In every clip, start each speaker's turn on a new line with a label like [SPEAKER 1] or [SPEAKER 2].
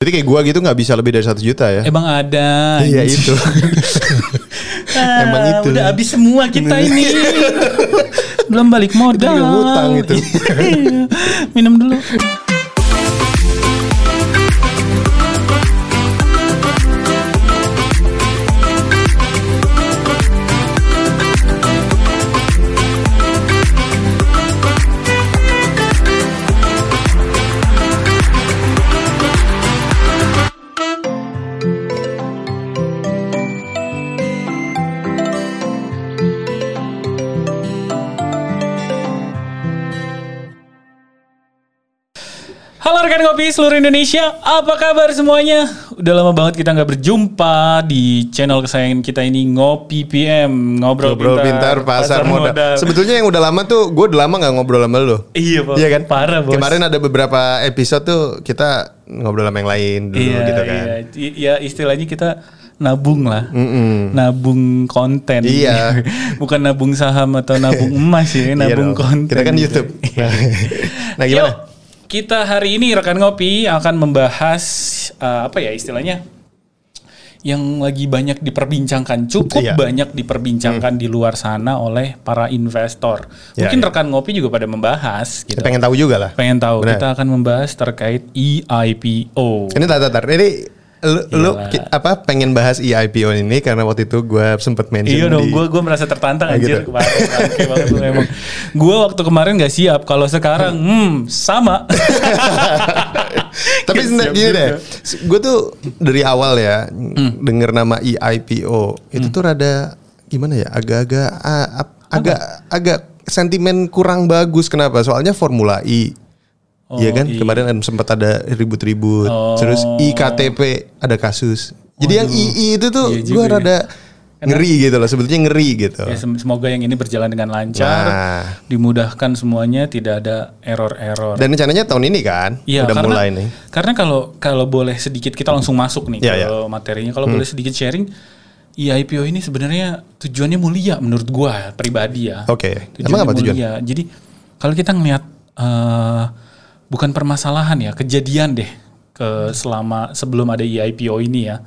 [SPEAKER 1] Jadi kayak gua gitu nggak bisa lebih dari satu juta ya?
[SPEAKER 2] Emang ada.
[SPEAKER 1] Iya itu.
[SPEAKER 2] Ah,
[SPEAKER 1] Emang itu.
[SPEAKER 2] Udah habis semua kita ini. Belum balik modal. Iya,
[SPEAKER 1] juga ngutang itu.
[SPEAKER 2] Minum dulu. Halo rekan kopi seluruh Indonesia. Apa kabar semuanya? Udah lama banget kita nggak berjumpa di channel kesayangan kita ini Ngopi PM, ngobrol,
[SPEAKER 1] Ngobrol pintar pasar modal. Sebetulnya yang udah lama tuh gua udah lama nggak ngobrol sama lu.
[SPEAKER 2] Iya, Pak.
[SPEAKER 1] Iya kan?
[SPEAKER 2] Parah, Bos.
[SPEAKER 1] Kemarin ada beberapa episode tuh kita ngobrol sama yang lain dulu
[SPEAKER 2] Iya,
[SPEAKER 1] gitu kan.
[SPEAKER 2] iya. I- ya istilahnya kita nabung lah, nabung konten.
[SPEAKER 1] Hmm. Iya.
[SPEAKER 2] bukan nabung saham atau nabung emas ya,
[SPEAKER 1] Iya
[SPEAKER 2] nabung
[SPEAKER 1] dong.
[SPEAKER 2] konten.
[SPEAKER 1] Kita kan
[SPEAKER 2] gitu.
[SPEAKER 1] YouTube. nah gimana?
[SPEAKER 2] Yuk, kita hari ini rekan ngopi akan membahas eh, apa ya istilahnya yang lagi banyak diperbincangkan, cukup
[SPEAKER 1] Iya. Hmm.
[SPEAKER 2] banyak diperbincangkan di luar sana oleh para investor.
[SPEAKER 1] Iya,
[SPEAKER 2] Mungkin
[SPEAKER 1] iya.
[SPEAKER 2] rekan ngopi juga pada membahas gitu.
[SPEAKER 1] Pengen tahu juga lah.
[SPEAKER 2] Pengen tahu,
[SPEAKER 1] Ya. Benar.
[SPEAKER 2] kita akan membahas terkait E EIPO.
[SPEAKER 1] Ini tar, tar, tar. Ini lu, lu
[SPEAKER 2] Iyalah.
[SPEAKER 1] ki- apa pengen bahas EIPO ini karena waktu itu gua sempet mention
[SPEAKER 2] Iya dong,
[SPEAKER 1] di-
[SPEAKER 2] gue gue merasa tertantang
[SPEAKER 1] Ah,
[SPEAKER 2] anjir
[SPEAKER 1] gitu.
[SPEAKER 2] kemarin. Bangke banget lu emang. Gue waktu kemarin nggak siap. Kalau sekarang, hmm, sama.
[SPEAKER 1] Tapi
[SPEAKER 2] Nggak
[SPEAKER 1] sebenarnya
[SPEAKER 2] siap
[SPEAKER 1] gini
[SPEAKER 2] juga.
[SPEAKER 1] deh, gue tuh dari awal ya
[SPEAKER 2] Hmm.
[SPEAKER 1] denger nama E EIPO itu tuh rada gimana ya, agak-agak ah, ap- agak agak sentimen kurang bagus kenapa? Soalnya Formula I,
[SPEAKER 2] Oh,
[SPEAKER 1] iya kan?
[SPEAKER 2] iya.
[SPEAKER 1] Kemarin ada- sempat ada ribut-ribut,
[SPEAKER 2] Oh.
[SPEAKER 1] terus IKTP ada kasus. Jadi yang II itu tuh
[SPEAKER 2] Iya
[SPEAKER 1] gue
[SPEAKER 2] juga ya.
[SPEAKER 1] rada ngeri gitu loh, sebetulnya ngeri gitu.
[SPEAKER 2] Ya, sem- semoga yang ini berjalan dengan lancar,
[SPEAKER 1] Nah.
[SPEAKER 2] dimudahkan semuanya, tidak ada error-error.
[SPEAKER 1] Dan rencananya tahun ini kan
[SPEAKER 2] Iya,
[SPEAKER 1] udah
[SPEAKER 2] karena-
[SPEAKER 1] mulai nih.
[SPEAKER 2] Karena kalau kalau boleh sedikit kita langsung masuk nih
[SPEAKER 1] Iya,
[SPEAKER 2] kalau materinya. Kalau boleh sedikit sharing, iya, IIPO ini sebenarnya tujuannya mulia menurut gua pribadi ya.
[SPEAKER 1] Oke, emang apa tujuan?
[SPEAKER 2] mulia. Jadi kalau kita ngelihat eh, bukan permasalahan ya, kejadian deh ke selama sebelum ada IIPO ini ya.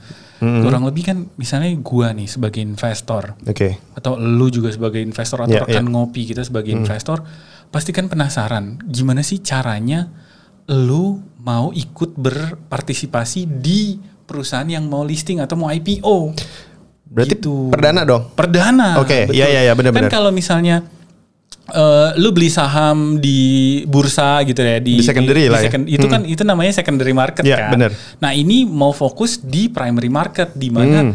[SPEAKER 1] Hmm.
[SPEAKER 2] Kurang lebih kan misalnya gua nih sebagai investor
[SPEAKER 1] Oke.
[SPEAKER 2] atau lu juga sebagai investor atau
[SPEAKER 1] Iya,
[SPEAKER 2] rekan ngopi kita sebagai investor pasti kan penasaran gimana sih caranya lu mau ikut berpartisipasi di perusahaan yang mau listing atau mau IPO
[SPEAKER 1] Berarti
[SPEAKER 2] Gitu.
[SPEAKER 1] perdana dong.
[SPEAKER 2] perdana
[SPEAKER 1] Oke,
[SPEAKER 2] betul.
[SPEAKER 1] iya, iya, iya, benar-benar.
[SPEAKER 2] kan kalau misalnya eh, lu beli saham di bursa gitu ya di,
[SPEAKER 1] Di secondary lah ya.
[SPEAKER 2] second- itu kan itu namanya secondary market
[SPEAKER 1] Iya,
[SPEAKER 2] kan
[SPEAKER 1] benar.
[SPEAKER 2] nah ini mau fokus di primary market di mana
[SPEAKER 1] Hmm.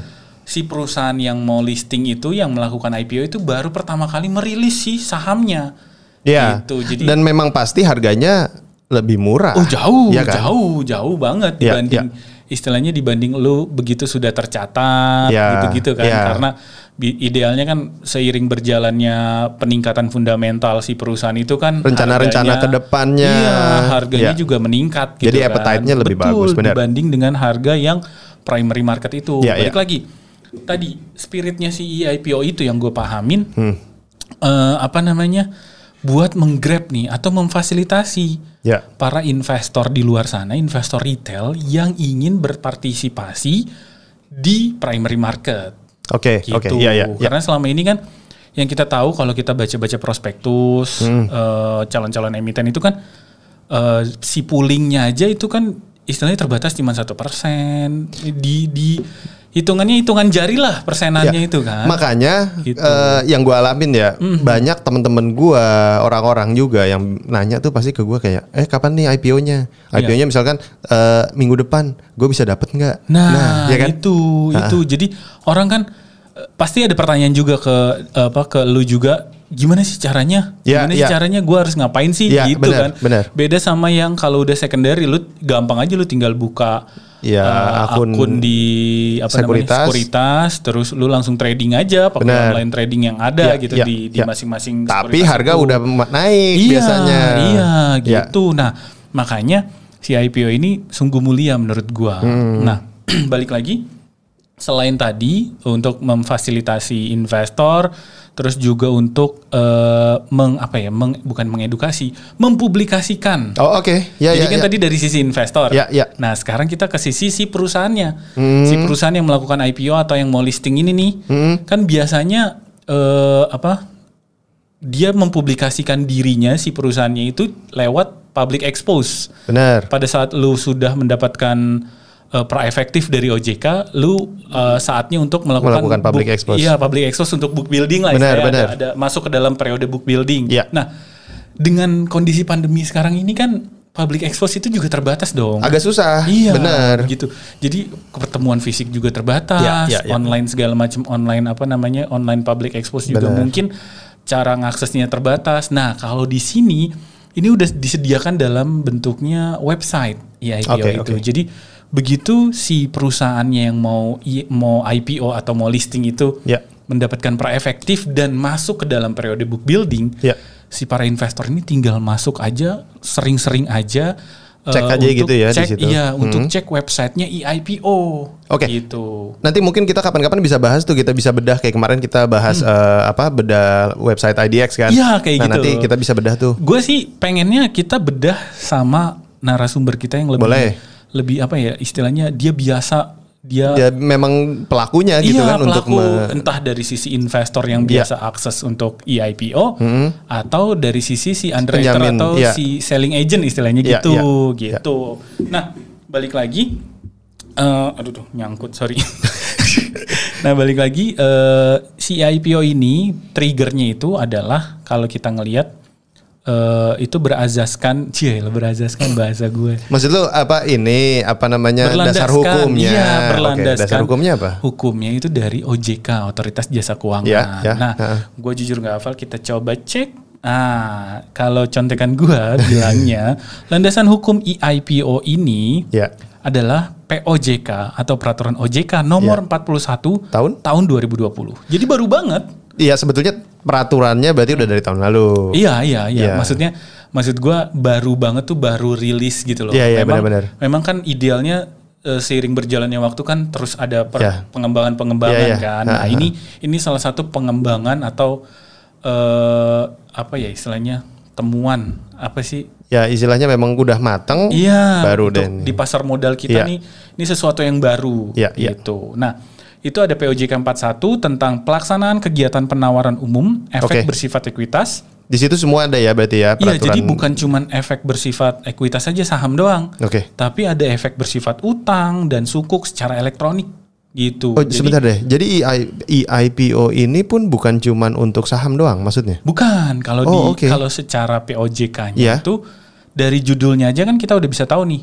[SPEAKER 2] si perusahaan yang mau listing itu yang melakukan IPO itu baru pertama kali merilis si sahamnya
[SPEAKER 1] Ya.
[SPEAKER 2] Gitu, jadi-
[SPEAKER 1] Dan memang pasti harganya lebih murah.
[SPEAKER 2] oh jauh
[SPEAKER 1] Iya kan?
[SPEAKER 2] jauh jauh banget
[SPEAKER 1] Iya,
[SPEAKER 2] dibanding istilahnya dibanding lu begitu sudah tercatat
[SPEAKER 1] Iya,
[SPEAKER 2] gitu-gitu kan
[SPEAKER 1] iya.
[SPEAKER 2] karena bi- idealnya kan seiring berjalannya peningkatan fundamental si perusahaan itu kan
[SPEAKER 1] Rencana-rencana
[SPEAKER 2] harganya-
[SPEAKER 1] ke depannya.
[SPEAKER 2] iya harganya
[SPEAKER 1] Iya.
[SPEAKER 2] juga meningkat gitu
[SPEAKER 1] Jadi
[SPEAKER 2] kan.
[SPEAKER 1] appetite-nya lebih
[SPEAKER 2] Betul,
[SPEAKER 1] bagus, benar.
[SPEAKER 2] dibanding dengan harga yang primary market itu
[SPEAKER 1] Iya,
[SPEAKER 2] balik
[SPEAKER 1] iya.
[SPEAKER 2] lagi tadi spiritnya si E IPO itu yang gue pahamin eh, apa namanya buat menggrab nih atau memfasilitasi
[SPEAKER 1] Ya.
[SPEAKER 2] para investor di luar sana, investor retail yang ingin berpartisipasi di primary market.
[SPEAKER 1] Oke,
[SPEAKER 2] Gitu.
[SPEAKER 1] oke. Iya, iya. iya.
[SPEAKER 2] Karena selama ini kan yang kita tahu kalau kita baca-baca prospektus
[SPEAKER 1] Hmm.
[SPEAKER 2] eh, calon-calon emiten itu kan eh, si poolingnya aja itu kan istilahnya terbatas cuma satu persen di di hitungannya hitungan jari lah persenannya
[SPEAKER 1] Iya.
[SPEAKER 2] itu kan.
[SPEAKER 1] Makanya
[SPEAKER 2] Gitu. Mhm.
[SPEAKER 1] eh, yang gua alamin ya banyak temen-temen gua orang-orang juga yang nanya tuh pasti ke gua kayak eh kapan nih IPO-nya?
[SPEAKER 2] Iya.
[SPEAKER 1] IPO-nya misalkan eh, minggu depan gue bisa dapet nggak?
[SPEAKER 2] Nah,
[SPEAKER 1] ya kan?
[SPEAKER 2] itu itu. Jadi orang kan eh, pasti ada pertanyaan juga ke apa ke lu juga gimana sih caranya?
[SPEAKER 1] Ya,
[SPEAKER 2] gimana
[SPEAKER 1] ya.
[SPEAKER 2] sih caranya gua harus ngapain sih
[SPEAKER 1] Ya,
[SPEAKER 2] gitu
[SPEAKER 1] benar,
[SPEAKER 2] kan.
[SPEAKER 1] benar.
[SPEAKER 2] Beda sama yang kalau udah secondary lu gampang aja lu tinggal buka
[SPEAKER 1] Ya,
[SPEAKER 2] eh,
[SPEAKER 1] akun
[SPEAKER 2] di apa
[SPEAKER 1] sekuritas.
[SPEAKER 2] namanya? sekuritas terus lu langsung trading aja pakai
[SPEAKER 1] Benar.
[SPEAKER 2] online trading yang ada
[SPEAKER 1] Ya,
[SPEAKER 2] gitu
[SPEAKER 1] ya,
[SPEAKER 2] di di
[SPEAKER 1] ya.
[SPEAKER 2] masing-masing
[SPEAKER 1] Tapi
[SPEAKER 2] sekuritas
[SPEAKER 1] harga
[SPEAKER 2] itu.
[SPEAKER 1] udah naik
[SPEAKER 2] Iya,
[SPEAKER 1] biasanya.
[SPEAKER 2] Iya,
[SPEAKER 1] Ya.
[SPEAKER 2] gitu. Nah,
[SPEAKER 1] Hmm.
[SPEAKER 2] makanya si IPO ini sungguh mulia menurut gua. Nah, balik lagi selain tadi untuk memfasilitasi investor terus juga untuk eh, meng apa ya meng, bukan mengedukasi mempublikasikan
[SPEAKER 1] Oh oke, ya
[SPEAKER 2] jadi
[SPEAKER 1] ya.
[SPEAKER 2] kan
[SPEAKER 1] ya.
[SPEAKER 2] tadi dari sisi investor.
[SPEAKER 1] Ya, Hmm. ya.
[SPEAKER 2] Nah sekarang kita ke sisi si perusahaannya, si perusahaan yang melakukan IPO atau yang mau listing ini nih,
[SPEAKER 1] Hmm.
[SPEAKER 2] kan biasanya eh, apa? Dia mempublikasikan dirinya si perusahaannya itu lewat public expose.
[SPEAKER 1] Benar.
[SPEAKER 2] Pada saat lu sudah mendapatkan eh, praefektif dari OJK, lu eh, saatnya untuk melakukan,
[SPEAKER 1] Melakukan public
[SPEAKER 2] book-
[SPEAKER 1] expose.
[SPEAKER 2] Iya, public expose untuk book building lah.
[SPEAKER 1] Benar,
[SPEAKER 2] istilahnya.
[SPEAKER 1] benar.
[SPEAKER 2] Ada, ada masuk ke dalam periode book building.
[SPEAKER 1] Iya.
[SPEAKER 2] Nah, dengan kondisi pandemi sekarang ini kan public expose itu juga terbatas dong.
[SPEAKER 1] Agak susah.
[SPEAKER 2] Iya,
[SPEAKER 1] Benar.
[SPEAKER 2] Gitu. Jadi pertemuan fisik juga terbatas,
[SPEAKER 1] Ya, ya, ya.
[SPEAKER 2] online segala macam online apa namanya online public expose juga
[SPEAKER 1] Benar.
[SPEAKER 2] mungkin cara ngaksesnya terbatas. Nah kalau di sini ini udah disediakan dalam bentuknya website IIPO
[SPEAKER 1] Oke,
[SPEAKER 2] itu.
[SPEAKER 1] oke.
[SPEAKER 2] Jadi begitu si perusahaannya yang mau i- mau IPO atau mau listing itu
[SPEAKER 1] Ya.
[SPEAKER 2] mendapatkan praefektif dan masuk ke dalam periode book building,
[SPEAKER 1] Ya.
[SPEAKER 2] si para investor ini tinggal masuk aja, sering-sering aja eh,
[SPEAKER 1] Cek aja
[SPEAKER 2] untuk
[SPEAKER 1] gitu ya di
[SPEAKER 2] cek,
[SPEAKER 1] situ.
[SPEAKER 2] Iya, untuk cek websitenya E EIPO.
[SPEAKER 1] Oke.
[SPEAKER 2] Gitu.
[SPEAKER 1] Nanti mungkin kita kapan-kapan bisa bahas tuh kita bisa bedah kayak kemarin kita bahas eh, apa bedah website IDX kan.
[SPEAKER 2] Hmm. Iya, kayak
[SPEAKER 1] nah,
[SPEAKER 2] gitu.
[SPEAKER 1] Nanti kita bisa bedah tuh.
[SPEAKER 2] Gue sih pengennya kita bedah sama narasumber kita yang lebih
[SPEAKER 1] Boleh.
[SPEAKER 2] lebih apa ya istilahnya dia biasa dia
[SPEAKER 1] Ya memang pelakunya gitu
[SPEAKER 2] iya
[SPEAKER 1] kan untuk
[SPEAKER 2] pelaku
[SPEAKER 1] me- Iya.
[SPEAKER 2] entah dari sisi investor yang biasa akses untuk E EIPO atau dari sisi si underwriter
[SPEAKER 1] Hmm. Penjamin,
[SPEAKER 2] atau
[SPEAKER 1] iya.
[SPEAKER 2] si selling agent istilahnya
[SPEAKER 1] Iya,
[SPEAKER 2] gitu
[SPEAKER 1] iya,
[SPEAKER 2] gitu. Nah, balik lagi eh, aduh tuh nyangkut sorry. nah, balik lagi eh, si EIPO ini triggernya itu adalah kalau kita ngelihat eh, itu berazaskan, cie berazaskan bahasa gue.
[SPEAKER 1] Maksud lu apa ini apa namanya dasar hukumnya?
[SPEAKER 2] Iya,
[SPEAKER 1] Oke,
[SPEAKER 2] berlandaskan.
[SPEAKER 1] dasar hukumnya apa?
[SPEAKER 2] Hukumnya itu dari OJK, Otoritas Jasa Keuangan.
[SPEAKER 1] Ya, ya,
[SPEAKER 2] Nah,
[SPEAKER 1] heeh.
[SPEAKER 2] gue jujur nggak hafal, kita coba cek. Ah, kalau contekan gue bilangnya, landasan hukum E IIPO ini
[SPEAKER 1] Ya.
[SPEAKER 2] adalah POJK atau Peraturan OJK nomor 41
[SPEAKER 1] Ya. Tahun?
[SPEAKER 2] tahun 2020. Jadi baru banget.
[SPEAKER 1] Iya, sebetulnya peraturannya berarti udah dari tahun lalu.
[SPEAKER 2] Iya iya iya.
[SPEAKER 1] Iya.
[SPEAKER 2] Maksudnya maksud gua baru banget tuh baru rilis gitu loh.
[SPEAKER 1] Iya, iya,
[SPEAKER 2] memang
[SPEAKER 1] benar-benar.
[SPEAKER 2] memang kan idealnya eh, seiring berjalannya waktu kan terus ada per-
[SPEAKER 1] Iya.
[SPEAKER 2] pengembangan-pengembangan
[SPEAKER 1] Iya, iya.
[SPEAKER 2] kan.
[SPEAKER 1] Ha,
[SPEAKER 2] Nah,
[SPEAKER 1] ha.
[SPEAKER 2] ini ini salah satu pengembangan atau eh apa ya istilahnya temuan apa sih?
[SPEAKER 1] Ya, istilahnya memang udah mateng
[SPEAKER 2] Iya.
[SPEAKER 1] baru
[SPEAKER 2] untuk
[SPEAKER 1] deh. nih.
[SPEAKER 2] Di pasar modal kita
[SPEAKER 1] Iya.
[SPEAKER 2] nih ini sesuatu yang baru
[SPEAKER 1] Iya, iya.
[SPEAKER 2] gitu. Nah, itu ada POJK 41 tentang pelaksanaan kegiatan penawaran umum efek
[SPEAKER 1] Oke.
[SPEAKER 2] bersifat ekuitas.
[SPEAKER 1] Di situ semua ada ya berarti ya
[SPEAKER 2] Iya,
[SPEAKER 1] peraturan.
[SPEAKER 2] jadi bukan cuman efek bersifat ekuitas saja saham doang,
[SPEAKER 1] Oke.
[SPEAKER 2] tapi ada efek bersifat utang dan sukuk secara elektronik gitu.
[SPEAKER 1] Oh,
[SPEAKER 2] Jadi-
[SPEAKER 1] sebentar deh. Jadi E EI EIPO ini pun bukan cuman untuk saham doang maksudnya.
[SPEAKER 2] Bukan kalau
[SPEAKER 1] Oh,
[SPEAKER 2] di
[SPEAKER 1] oke.
[SPEAKER 2] kalau secara POJK-nya
[SPEAKER 1] Iya.
[SPEAKER 2] itu dari judulnya aja kan kita udah bisa tahu nih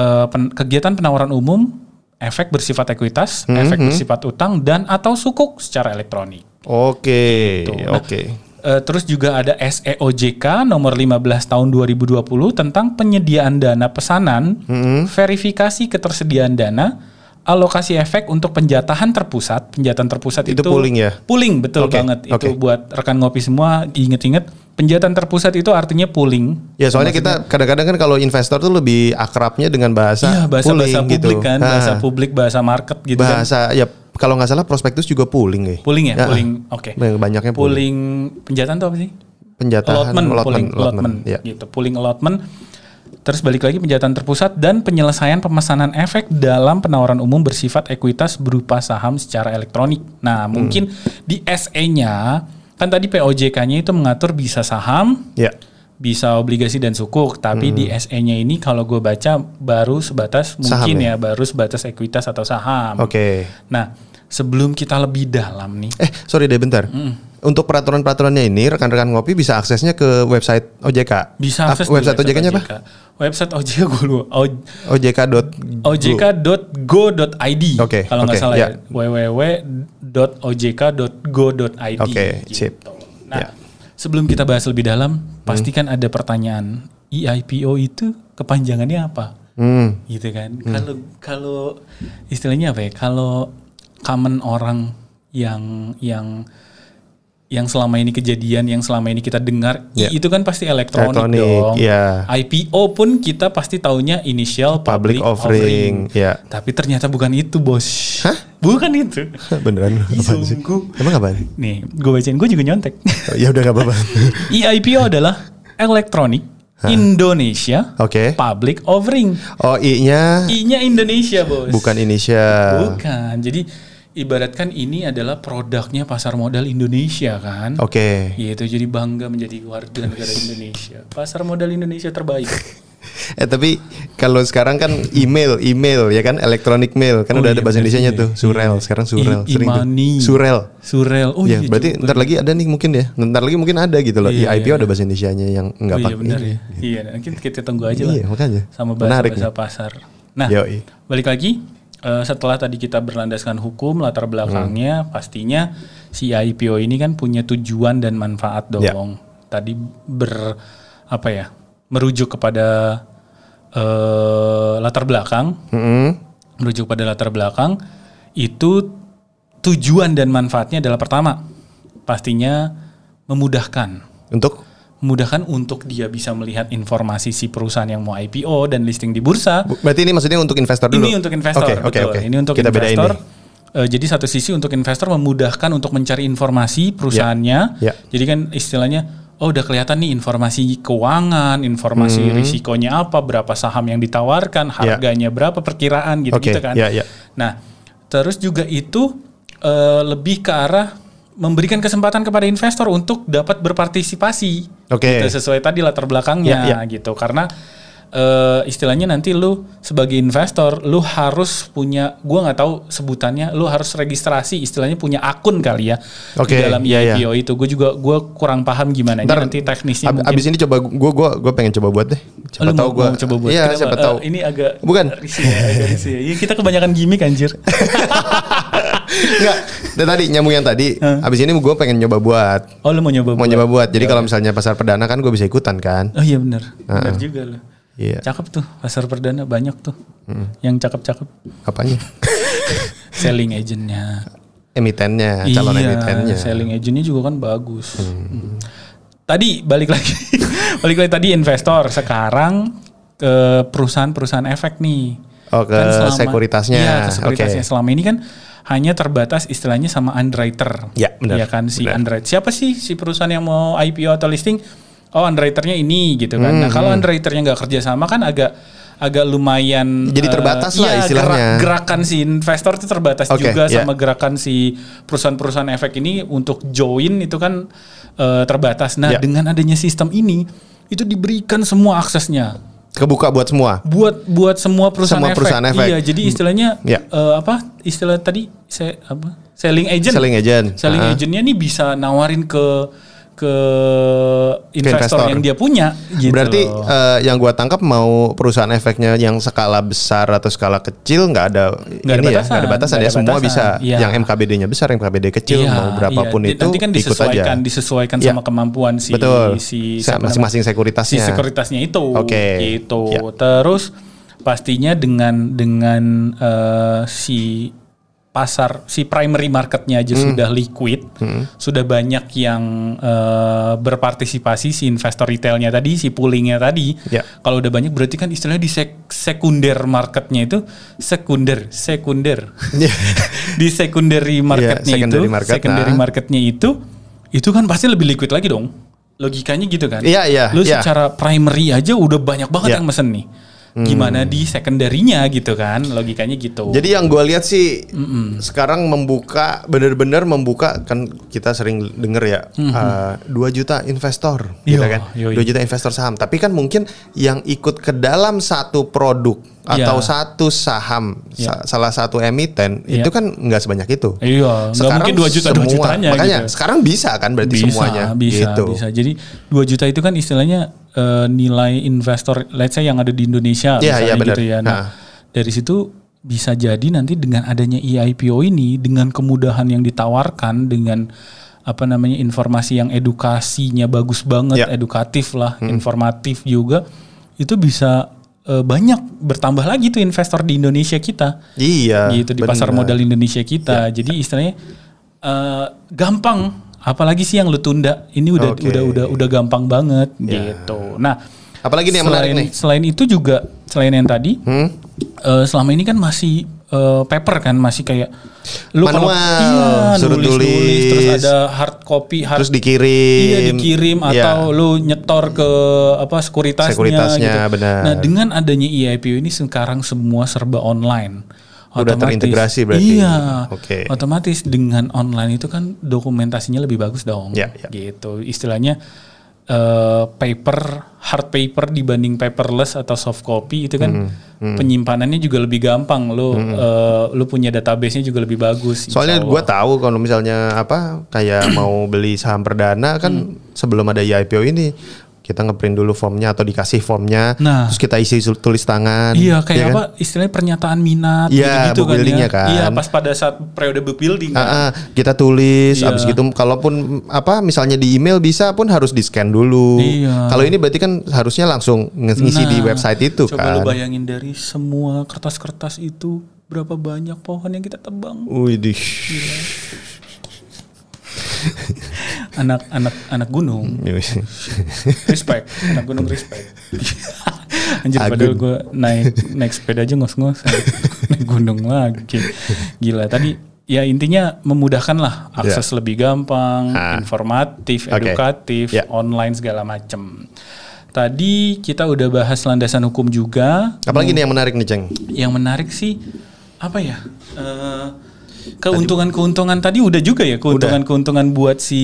[SPEAKER 2] eh, pen- kegiatan penawaran umum efek bersifat ekuitas,
[SPEAKER 1] Hmm,
[SPEAKER 2] efek bersifat utang dan atau sukuk secara elektronik.
[SPEAKER 1] Oke.
[SPEAKER 2] Gitu. Nah,
[SPEAKER 1] Oke.
[SPEAKER 2] Eh, terus juga ada E SEOJK nomor 15 tahun 2020 tentang penyediaan dana pesanan,
[SPEAKER 1] Mm-hmm.
[SPEAKER 2] verifikasi ketersediaan dana, alokasi efek untuk penjatahan terpusat. Penjataan terpusat itu,
[SPEAKER 1] Itu pooling ya?
[SPEAKER 2] Pooling betul
[SPEAKER 1] Oke,
[SPEAKER 2] banget. Itu
[SPEAKER 1] oke.
[SPEAKER 2] buat rekan ngopi semua inget-inget. Penjataan terpusat itu artinya pooling.
[SPEAKER 1] Ya soalnya kita kadang-kadang kan kalau investor tuh lebih akrabnya dengan bahasa
[SPEAKER 2] Iya, bahasa bahasa
[SPEAKER 1] pooling
[SPEAKER 2] publik
[SPEAKER 1] gitu.
[SPEAKER 2] kan,
[SPEAKER 1] Ah,
[SPEAKER 2] bahasa publik, bahasa market gitu kan.
[SPEAKER 1] bahasa ya kalau nggak salah prospektus juga pooling ya.
[SPEAKER 2] Pooling ya,
[SPEAKER 1] Ah,
[SPEAKER 2] pooling. Oke.
[SPEAKER 1] banyak- Banyaknya pooling.
[SPEAKER 2] Pooling penjataan tuh apa sih?
[SPEAKER 1] Penjatahan
[SPEAKER 2] allotment, pooling
[SPEAKER 1] allotment,
[SPEAKER 2] allotment,
[SPEAKER 1] allotment, ya.
[SPEAKER 2] gitu, pooling allotment. Terus balik lagi penjataan terpusat dan penyelesaian pemesanan efek dalam penawaran umum bersifat ekuitas berupa saham secara elektronik. Nah,
[SPEAKER 1] Hmm.
[SPEAKER 2] mungkin di SE-nya kan tadi POJK-nya itu mengatur bisa saham,
[SPEAKER 1] Ya.
[SPEAKER 2] bisa obligasi dan sukuk, tapi di SE-nya ini kalau gue baca baru sebatas
[SPEAKER 1] Hmm. Saham
[SPEAKER 2] mungkin
[SPEAKER 1] ya?
[SPEAKER 2] ya, baru sebatas ekuitas atau saham.
[SPEAKER 1] Oke.
[SPEAKER 2] Nah, sebelum kita lebih dalam nih,
[SPEAKER 1] Eh, sorry deh bentar.
[SPEAKER 2] Hmm.
[SPEAKER 1] Untuk peraturan-peraturannya ini rekan-rekan ngopi bisa aksesnya ke website OJK. Ah,
[SPEAKER 2] bisa akses di
[SPEAKER 1] website OJK-nya apa?
[SPEAKER 2] Website OJK gue lupa. O-
[SPEAKER 1] OJK.go.
[SPEAKER 2] ojk.go.id
[SPEAKER 1] Oke,
[SPEAKER 2] kalau nggak
[SPEAKER 1] oke,
[SPEAKER 2] salah
[SPEAKER 1] ya.
[SPEAKER 2] ya www.ojk.go.id
[SPEAKER 1] Oke,
[SPEAKER 2] gitu.
[SPEAKER 1] sip.
[SPEAKER 2] Nah,
[SPEAKER 1] Ya. Hmm.
[SPEAKER 2] sebelum kita bahas lebih dalam, pastikan ada pertanyaan. E EIPO itu kepanjangannya apa?
[SPEAKER 1] Hmm.
[SPEAKER 2] Gitu kan. Kalau kalau istilahnya apa ya? Kalau common orang yang yang yang selama ini kejadian, yang selama ini kita dengar, I
[SPEAKER 1] Ya.
[SPEAKER 2] itu kan pasti elektronik,
[SPEAKER 1] Elektronik,
[SPEAKER 2] dong.
[SPEAKER 1] ya.
[SPEAKER 2] IPO pun kita pasti taunya initial
[SPEAKER 1] Public offering, ya.
[SPEAKER 2] tapi ternyata bukan itu, Bos.
[SPEAKER 1] Hah?
[SPEAKER 2] Bukan itu.
[SPEAKER 1] Beneran apaan sih?
[SPEAKER 2] Sungguh.
[SPEAKER 1] Emang apaan?
[SPEAKER 2] Nih, gue bacain, gue juga nyontek.
[SPEAKER 1] Oh, Ya udah gak apa-apa.
[SPEAKER 2] EIPO adalah Electronic Indonesia
[SPEAKER 1] Oke.
[SPEAKER 2] Public Offering.
[SPEAKER 1] Oh I-nya
[SPEAKER 2] I-nya Indonesia, Bos.
[SPEAKER 1] bukan Indonesia.
[SPEAKER 2] Bukan. Jadi ibaratkan ini adalah produknya pasar modal Indonesia kan.
[SPEAKER 1] Oke.
[SPEAKER 2] Yaitu jadi bangga menjadi warga negara Indonesia. Pasar modal Indonesia terbaik.
[SPEAKER 1] Eh tapi kalau sekarang kan email, email ya kan electronic mail kan
[SPEAKER 2] Oh
[SPEAKER 1] udah
[SPEAKER 2] iya,
[SPEAKER 1] ada bahasa
[SPEAKER 2] bener
[SPEAKER 1] Indonesianya
[SPEAKER 2] juga.
[SPEAKER 1] tuh. Surel sekarang surel
[SPEAKER 2] I- imani.
[SPEAKER 1] tuh. Surel.
[SPEAKER 2] Surel. Oh
[SPEAKER 1] ya,
[SPEAKER 2] iya.
[SPEAKER 1] berarti
[SPEAKER 2] juga.
[SPEAKER 1] ntar lagi ada nih mungkin ya. Ntar lagi mungkin ada gitu loh.
[SPEAKER 2] Iya,
[SPEAKER 1] IIPO
[SPEAKER 2] iya.
[SPEAKER 1] ada bahasa Indonesianya yang enggak
[SPEAKER 2] Oh, iya
[SPEAKER 1] pakai.
[SPEAKER 2] benar ya. Iya, nanti kita tunggu aja lah.
[SPEAKER 1] Iya, makanya.
[SPEAKER 2] Sama
[SPEAKER 1] Menarik
[SPEAKER 2] bahasa-bahasa pasar. Nah,
[SPEAKER 1] Yoi.
[SPEAKER 2] balik lagi eh, setelah tadi kita berlandaskan hukum latar belakangnya
[SPEAKER 1] Hmm.
[SPEAKER 2] pastinya si IPO ini kan punya tujuan dan manfaat dong.
[SPEAKER 1] Ya.
[SPEAKER 2] Tadi ber apa ya? merujuk kepada eh, latar belakang
[SPEAKER 1] Mm-mm.
[SPEAKER 2] merujuk pada latar belakang itu tujuan dan manfaatnya adalah pertama pastinya memudahkan
[SPEAKER 1] Untuk
[SPEAKER 2] memudahkan untuk dia bisa melihat informasi si perusahaan yang mau IPO dan listing di bursa
[SPEAKER 1] bu- berarti ini maksudnya untuk investor dulu.
[SPEAKER 2] ini untuk investor
[SPEAKER 1] Oke, oke,
[SPEAKER 2] betul
[SPEAKER 1] oke.
[SPEAKER 2] ini untuk
[SPEAKER 1] Kita bedain
[SPEAKER 2] investor
[SPEAKER 1] nih.
[SPEAKER 2] Eh, jadi satu sisi untuk investor memudahkan untuk mencari informasi perusahaannya
[SPEAKER 1] Ya.
[SPEAKER 2] jadi kan istilahnya oh udah kelihatan nih informasi keuangan informasi risikonya apa berapa saham yang
[SPEAKER 1] Hmm.
[SPEAKER 2] ditawarkan
[SPEAKER 1] Ya.
[SPEAKER 2] harganya berapa perkiraan gitu gitu
[SPEAKER 1] Oke,
[SPEAKER 2] kan
[SPEAKER 1] ya, ya.
[SPEAKER 2] Nah, terus juga itu eh, lebih ke arah memberikan kesempatan kepada investor untuk dapat berpartisipasi.
[SPEAKER 1] Oke.
[SPEAKER 2] Gitu, sesuai tadi latar belakangnya
[SPEAKER 1] Ya,
[SPEAKER 2] gitu. Karena eh, istilahnya nanti lu sebagai investor lu harus punya gua nggak tahu sebutannya, lu harus registrasi istilahnya punya akun kali ya
[SPEAKER 1] Oke,
[SPEAKER 2] di dalam
[SPEAKER 1] ya, ya.
[SPEAKER 2] IPO itu. Gue juga gua kurang paham gimana
[SPEAKER 1] Ntar,
[SPEAKER 2] nanti teknisnya
[SPEAKER 1] Ab-
[SPEAKER 2] mungkin. Oh,
[SPEAKER 1] abis ini coba gue gue gue pengen coba buat deh. Siapa
[SPEAKER 2] Lu
[SPEAKER 1] tahu
[SPEAKER 2] mau-
[SPEAKER 1] gue.
[SPEAKER 2] mau coba buat.
[SPEAKER 1] Iya,
[SPEAKER 2] Kenapa?
[SPEAKER 1] siapa
[SPEAKER 2] Eh,
[SPEAKER 1] tahu.
[SPEAKER 2] ini agak
[SPEAKER 1] Bukan.
[SPEAKER 2] risih ya, agak risih ya. Iya, kita kebanyakan gimmick anjir.
[SPEAKER 1] Enggak. Dan tadi nyambung yang tadi. Abis ini gue pengen nyoba buat.
[SPEAKER 2] Oh lu mau nyoba
[SPEAKER 1] Mau
[SPEAKER 2] buat?
[SPEAKER 1] nyoba buat. Jadi kalau misalnya pasar perdana kan gue bisa ikutan kan.
[SPEAKER 2] Oh iya benar. Benar juga lu.
[SPEAKER 1] Iya. Hmm.
[SPEAKER 2] Cakep tuh pasar perdana banyak tuh. Yang cakep-cakep
[SPEAKER 1] Apanya?
[SPEAKER 2] selling agentnya.
[SPEAKER 1] Emitennya, calon
[SPEAKER 2] iya,
[SPEAKER 1] emitennya.
[SPEAKER 2] selling agentnya juga kan bagus. Hmm. Tadi balik lagi, balik lagi tadi investor sekarang ke perusahaan-perusahaan efek nih.
[SPEAKER 1] Oh, ke sekuritasnya.
[SPEAKER 2] Iya, ke sekuritasnya.
[SPEAKER 1] Oke.
[SPEAKER 2] Selama ini kan hanya terbatas istilahnya sama underwriter.
[SPEAKER 1] Ya, benar.
[SPEAKER 2] Iya kan si
[SPEAKER 1] Benar.
[SPEAKER 2] underwriter. Siapa sih si perusahaan yang mau IPO atau listing? Oh, underwriternya ini gitu
[SPEAKER 1] Hmm,
[SPEAKER 2] kan. Nah, kalau underwriternya nggak kerja sama kan agak agak lumayan
[SPEAKER 1] Jadi
[SPEAKER 2] eh,
[SPEAKER 1] terbatas lah
[SPEAKER 2] iya,
[SPEAKER 1] istilahnya.
[SPEAKER 2] gerak- gerakan si investor itu terbatas
[SPEAKER 1] Oke,
[SPEAKER 2] juga
[SPEAKER 1] ya.
[SPEAKER 2] sama gerakan si perusahaan-perusahaan efek ini untuk join itu kan eh, terbatas. Nah,
[SPEAKER 1] Ya.
[SPEAKER 2] dengan adanya sistem ini itu diberikan semua aksesnya
[SPEAKER 1] Kebuka buat semua.
[SPEAKER 2] buat buat semua perusahaan,
[SPEAKER 1] Semua
[SPEAKER 2] efek.
[SPEAKER 1] perusahaan efek.
[SPEAKER 2] Iya, jadi istilahnya
[SPEAKER 1] Ya.
[SPEAKER 2] eh, apa? Istilah tadi saya apa? Selling agent.
[SPEAKER 1] Selling agent.
[SPEAKER 2] Selling
[SPEAKER 1] Ah.
[SPEAKER 2] agentnya nih bisa nawarin ke ke investor,
[SPEAKER 1] investor.
[SPEAKER 2] yang dia punya gitu.
[SPEAKER 1] Berarti
[SPEAKER 2] loh.
[SPEAKER 1] eh, yang gua tangkap mau perusahaan efeknya yang skala besar atau skala kecil nggak ada
[SPEAKER 2] Nggak ada
[SPEAKER 1] ini ya,
[SPEAKER 2] batasan,
[SPEAKER 1] nggak ada batasan ya
[SPEAKER 2] nggak ada
[SPEAKER 1] semua
[SPEAKER 2] batasan,
[SPEAKER 1] bisa.
[SPEAKER 2] iya.
[SPEAKER 1] Yang MKBD-nya besar, MKBD kecil
[SPEAKER 2] Iya,
[SPEAKER 1] mau berapapun
[SPEAKER 2] iya.
[SPEAKER 1] itu
[SPEAKER 2] nanti kan
[SPEAKER 1] ikut aja.
[SPEAKER 2] disesuaikan disesuaikan
[SPEAKER 1] Iya.
[SPEAKER 2] sama kemampuan si
[SPEAKER 1] Betul.
[SPEAKER 2] si
[SPEAKER 1] Sa-
[SPEAKER 2] siapa namanya?
[SPEAKER 1] masing-masing
[SPEAKER 2] si
[SPEAKER 1] sekuritasnya.
[SPEAKER 2] sekuritasnya itu
[SPEAKER 1] Oke.
[SPEAKER 2] gitu.
[SPEAKER 1] Iya.
[SPEAKER 2] Terus pastinya dengan dengan eh, si pasar si primary marketnya aja
[SPEAKER 1] Hmm.
[SPEAKER 2] sudah liquid, sudah banyak yang eh, berpartisipasi si investor retailnya tadi, si poolingnya tadi.
[SPEAKER 1] Ya.
[SPEAKER 2] Kalau udah banyak berarti kan istilahnya di sek sekunder marketnya itu sekunder sekunder
[SPEAKER 1] Iya.
[SPEAKER 2] di secondary marketnya
[SPEAKER 1] Iya, secondary
[SPEAKER 2] itu,
[SPEAKER 1] market,
[SPEAKER 2] secondary
[SPEAKER 1] nah.
[SPEAKER 2] marketnya itu, itu kan pasti lebih liquid lagi dong. Logikanya gitu kan?
[SPEAKER 1] Iya, iya,
[SPEAKER 2] Lu
[SPEAKER 1] iya.
[SPEAKER 2] secara primary aja udah banyak banget
[SPEAKER 1] Iya. Hmm.
[SPEAKER 2] yang mesen nih. Gimana di secondary-nya gitu kan? Logikanya gitu.
[SPEAKER 1] Jadi yang gue lihat sih sekarang membuka benar-benar membuka kan kita sering denger ya
[SPEAKER 2] Mm-hmm.
[SPEAKER 1] dua 2 juta investor gitu
[SPEAKER 2] Iya,
[SPEAKER 1] kan.
[SPEAKER 2] yoi.
[SPEAKER 1] 2 juta investor saham. Tapi kan mungkin yang ikut ke dalam satu produk atau
[SPEAKER 2] Iya.
[SPEAKER 1] satu saham sa- salah satu emiten
[SPEAKER 2] Iya.
[SPEAKER 1] itu kan nggak sebanyak itu.
[SPEAKER 2] Ya. Iya, nggak mungkin 2 juta 2
[SPEAKER 1] semua-
[SPEAKER 2] jutanya
[SPEAKER 1] Makanya
[SPEAKER 2] gitu.
[SPEAKER 1] sekarang bisa kan berarti
[SPEAKER 2] bisa,
[SPEAKER 1] semuanya
[SPEAKER 2] bisa,
[SPEAKER 1] gitu.
[SPEAKER 2] bisa. Jadi 2 juta itu kan istilahnya eh, nilai investor let's say yang ada di Indonesia
[SPEAKER 1] Iya, iya,
[SPEAKER 2] misalnya
[SPEAKER 1] benar.
[SPEAKER 2] gitu ya. Nah,
[SPEAKER 1] Ha.
[SPEAKER 2] dari situ bisa jadi nanti dengan adanya E EIPO ini dengan kemudahan yang ditawarkan dengan apa namanya informasi yang edukasinya bagus banget,
[SPEAKER 1] Ya. Hmm.
[SPEAKER 2] edukatif lah, informatif juga itu bisa eh, banyak bertambah lagi tuh investor di Indonesia kita
[SPEAKER 1] Iya.
[SPEAKER 2] gitu di pasar
[SPEAKER 1] benar. Iya.
[SPEAKER 2] modal Indonesia kita. Jadi istilahnya eh, gampang, apalagi sih yang lu tunda. Ini udah
[SPEAKER 1] Oke. Iya.
[SPEAKER 2] udah udah udah gampang banget gitu. Nah,
[SPEAKER 1] Apalagi nih Hmm. yang menarik
[SPEAKER 2] selain,
[SPEAKER 1] nih?
[SPEAKER 2] Selain itu juga selain yang tadi, eh, selama ini kan masih eh, paper kan masih kayak lu kalau
[SPEAKER 1] Manual,
[SPEAKER 2] iya,
[SPEAKER 1] suruh
[SPEAKER 2] nulis,
[SPEAKER 1] tulis.
[SPEAKER 2] nulis terus ada hard copy hard
[SPEAKER 1] Terus dikirim.
[SPEAKER 2] Iya dikirim
[SPEAKER 1] Iya.
[SPEAKER 2] atau lu nyetor ke apa sekuritasnya,
[SPEAKER 1] Sekuritasnya, benar.
[SPEAKER 2] Nah dengan adanya EIPO ini sekarang semua serba online.
[SPEAKER 1] Udah terintegrasi berarti.
[SPEAKER 2] Iya.
[SPEAKER 1] Oke.
[SPEAKER 2] Otomatis dengan online itu kan dokumentasinya lebih bagus dong.
[SPEAKER 1] Ya, ya.
[SPEAKER 2] Gitu. Istilahnya eh, paper hard paper dibanding paperless atau soft copy itu kan
[SPEAKER 1] Mm-hmm.
[SPEAKER 2] penyimpanannya juga lebih gampang. Lu eh, lu punya databasenya juga lebih bagus. Insya
[SPEAKER 1] Soalnya
[SPEAKER 2] Allah.
[SPEAKER 1] gua tahu kalau misalnya apa kayak mau beli saham perdana kan
[SPEAKER 2] Hmm.
[SPEAKER 1] sebelum ada IPO ini kita ngeprint dulu formnya atau dikasih formnya,
[SPEAKER 2] Nah.
[SPEAKER 1] terus kita isi sul- tulis tangan.
[SPEAKER 2] Iya kayak
[SPEAKER 1] ya kan?
[SPEAKER 2] apa istilahnya pernyataan minat
[SPEAKER 1] Iya,
[SPEAKER 2] gitu-gitu
[SPEAKER 1] book building-nya
[SPEAKER 2] ya.
[SPEAKER 1] kan.
[SPEAKER 2] Iya pas pada saat periode book building kan.
[SPEAKER 1] Ah, ah, kita tulis,
[SPEAKER 2] Iya.
[SPEAKER 1] abis gitu, kalaupun apa misalnya di email bisa pun harus di scan dulu.
[SPEAKER 2] Iya.
[SPEAKER 1] Kalau ini berarti kan harusnya langsung nge- ngisi
[SPEAKER 2] Nah,
[SPEAKER 1] di website itu
[SPEAKER 2] Coba lu
[SPEAKER 1] kan.
[SPEAKER 2] bayangin dari semua kertas-kertas itu berapa banyak pohon yang kita tebang.
[SPEAKER 1] Widih.
[SPEAKER 2] Anak-anak anak gunung respect, anak gunung respect. Anjir padahal gue naik naik sepeda aja ngos-ngosan naik gunung lagi. Gila tadi ya intinya memudahkan lah akses lebih gampang,
[SPEAKER 1] Ya. Ah.
[SPEAKER 2] informatif,
[SPEAKER 1] Oke.
[SPEAKER 2] edukatif,
[SPEAKER 1] Ya.
[SPEAKER 2] online segala macem. Tadi kita udah bahas landasan hukum juga.
[SPEAKER 1] Apalagi nih yang menarik nih, Ceng?
[SPEAKER 2] yang menarik sih apa ya eh, keuntungan-keuntungan tadi udah juga ya keuntungan-keuntungan buat si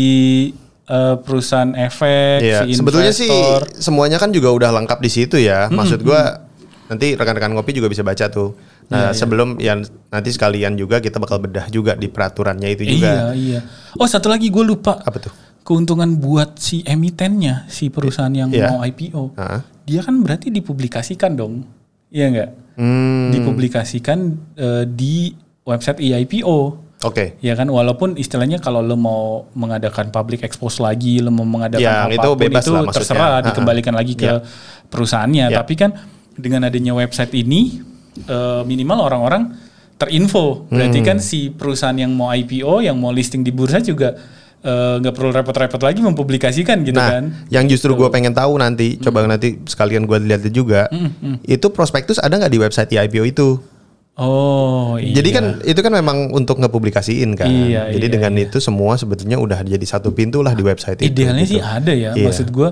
[SPEAKER 2] eh, perusahaan efek
[SPEAKER 1] Iya,
[SPEAKER 2] si investor
[SPEAKER 1] sebetulnya sih semuanya kan juga udah lengkap di situ ya. Maksud gua nanti rekan-rekan ngopi juga bisa baca tuh.
[SPEAKER 2] Iya,
[SPEAKER 1] Nah, sebelum ya nanti sekalian juga kita bakal bedah juga di peraturannya itu juga.
[SPEAKER 2] iya iya oh satu lagi gue lupa
[SPEAKER 1] Apa tuh?
[SPEAKER 2] keuntungan buat si emitennya si perusahaan yang
[SPEAKER 1] Iya.
[SPEAKER 2] mau IPO
[SPEAKER 1] Hah?
[SPEAKER 2] dia kan berarti dipublikasikan dong iya nggak
[SPEAKER 1] Hmm,
[SPEAKER 2] dipublikasikan eh, di website EIPO
[SPEAKER 1] oke.
[SPEAKER 2] Ya kan walaupun istilahnya kalau lo mau mengadakan public expose lagi, lo mau mengadakan
[SPEAKER 1] Ya,
[SPEAKER 2] apapun
[SPEAKER 1] itu bebas lah maksudnya. Ya.
[SPEAKER 2] terserah
[SPEAKER 1] Ha-ha.
[SPEAKER 2] dikembalikan lagi ke perusahaannya. Tapi kan dengan adanya website ini eh, minimal orang-orang terinfo. Berarti
[SPEAKER 1] Hmm.
[SPEAKER 2] kan si perusahaan yang mau IPO, yang mau listing di bursa juga eh, nggak perlu repot-repot lagi mempublikasikan gitu
[SPEAKER 1] Nah,
[SPEAKER 2] kan.
[SPEAKER 1] yang justru gua pengen tahu nanti, coba nanti sekalian gua lihat juga. Itu prospektus ada nggak di website IPO itu?
[SPEAKER 2] Oh, iya.
[SPEAKER 1] Jadi kan itu kan memang untuk ngepublikasiin kan.
[SPEAKER 2] Iya,
[SPEAKER 1] jadi
[SPEAKER 2] iya,
[SPEAKER 1] dengan itu semua sebetulnya udah jadi satu pintu lah di website itu.
[SPEAKER 2] Idealnya
[SPEAKER 1] gitu.
[SPEAKER 2] sih ada ya.
[SPEAKER 1] Iya.
[SPEAKER 2] Maksud gue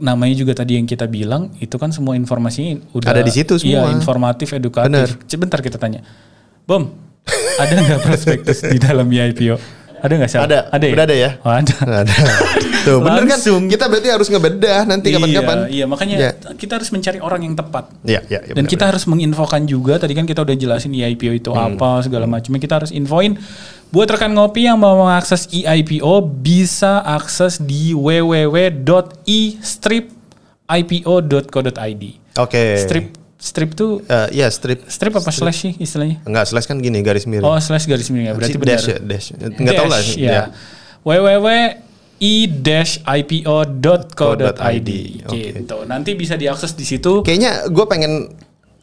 [SPEAKER 2] namanya juga tadi yang kita bilang itu kan semua informasinya udah
[SPEAKER 1] Ada di situ semua.
[SPEAKER 2] Iya, informatif, edukatif.
[SPEAKER 1] Bener.
[SPEAKER 2] Sebentar kita tanya. Bom, ada nggak prospektus di dalam IPO? Ada nggak sih?
[SPEAKER 1] Ada.
[SPEAKER 2] Ada ya?
[SPEAKER 1] Udah ada ya?
[SPEAKER 2] Oh, ada.
[SPEAKER 1] Ada. Tuh, bener kan?
[SPEAKER 2] Langsung.
[SPEAKER 1] Kita berarti harus ngebedah nanti kapan-kapan.
[SPEAKER 2] Iya, iya, makanya
[SPEAKER 1] Iya,
[SPEAKER 2] kita harus mencari orang yang tepat.
[SPEAKER 1] iya, iya,
[SPEAKER 2] Dan
[SPEAKER 1] benar, Hmm.
[SPEAKER 2] kita harus menginfokan juga tadi kan kita udah jelasin EIPO itu apa segala macamnya kita harus infoin buat rekan ngopi yang mau mengakses E EIPO bisa akses di e www.e-ipo.co.id.
[SPEAKER 1] benar. Oke.
[SPEAKER 2] Strip strip tuh
[SPEAKER 1] Eh, iya, strip.
[SPEAKER 2] strip apa slash sih istilahnya?
[SPEAKER 1] Enggak, slash kan gini garis miring.
[SPEAKER 2] Oh, slash garis miring ya. Berarti
[SPEAKER 1] Si
[SPEAKER 2] benar.
[SPEAKER 1] dash ya, dash. Enggak tahu lah.
[SPEAKER 2] Dash, ya. www.e-ipo.co.id
[SPEAKER 1] Oke.
[SPEAKER 2] gitu. Nanti bisa diakses di situ.
[SPEAKER 1] Kayaknya gue pengen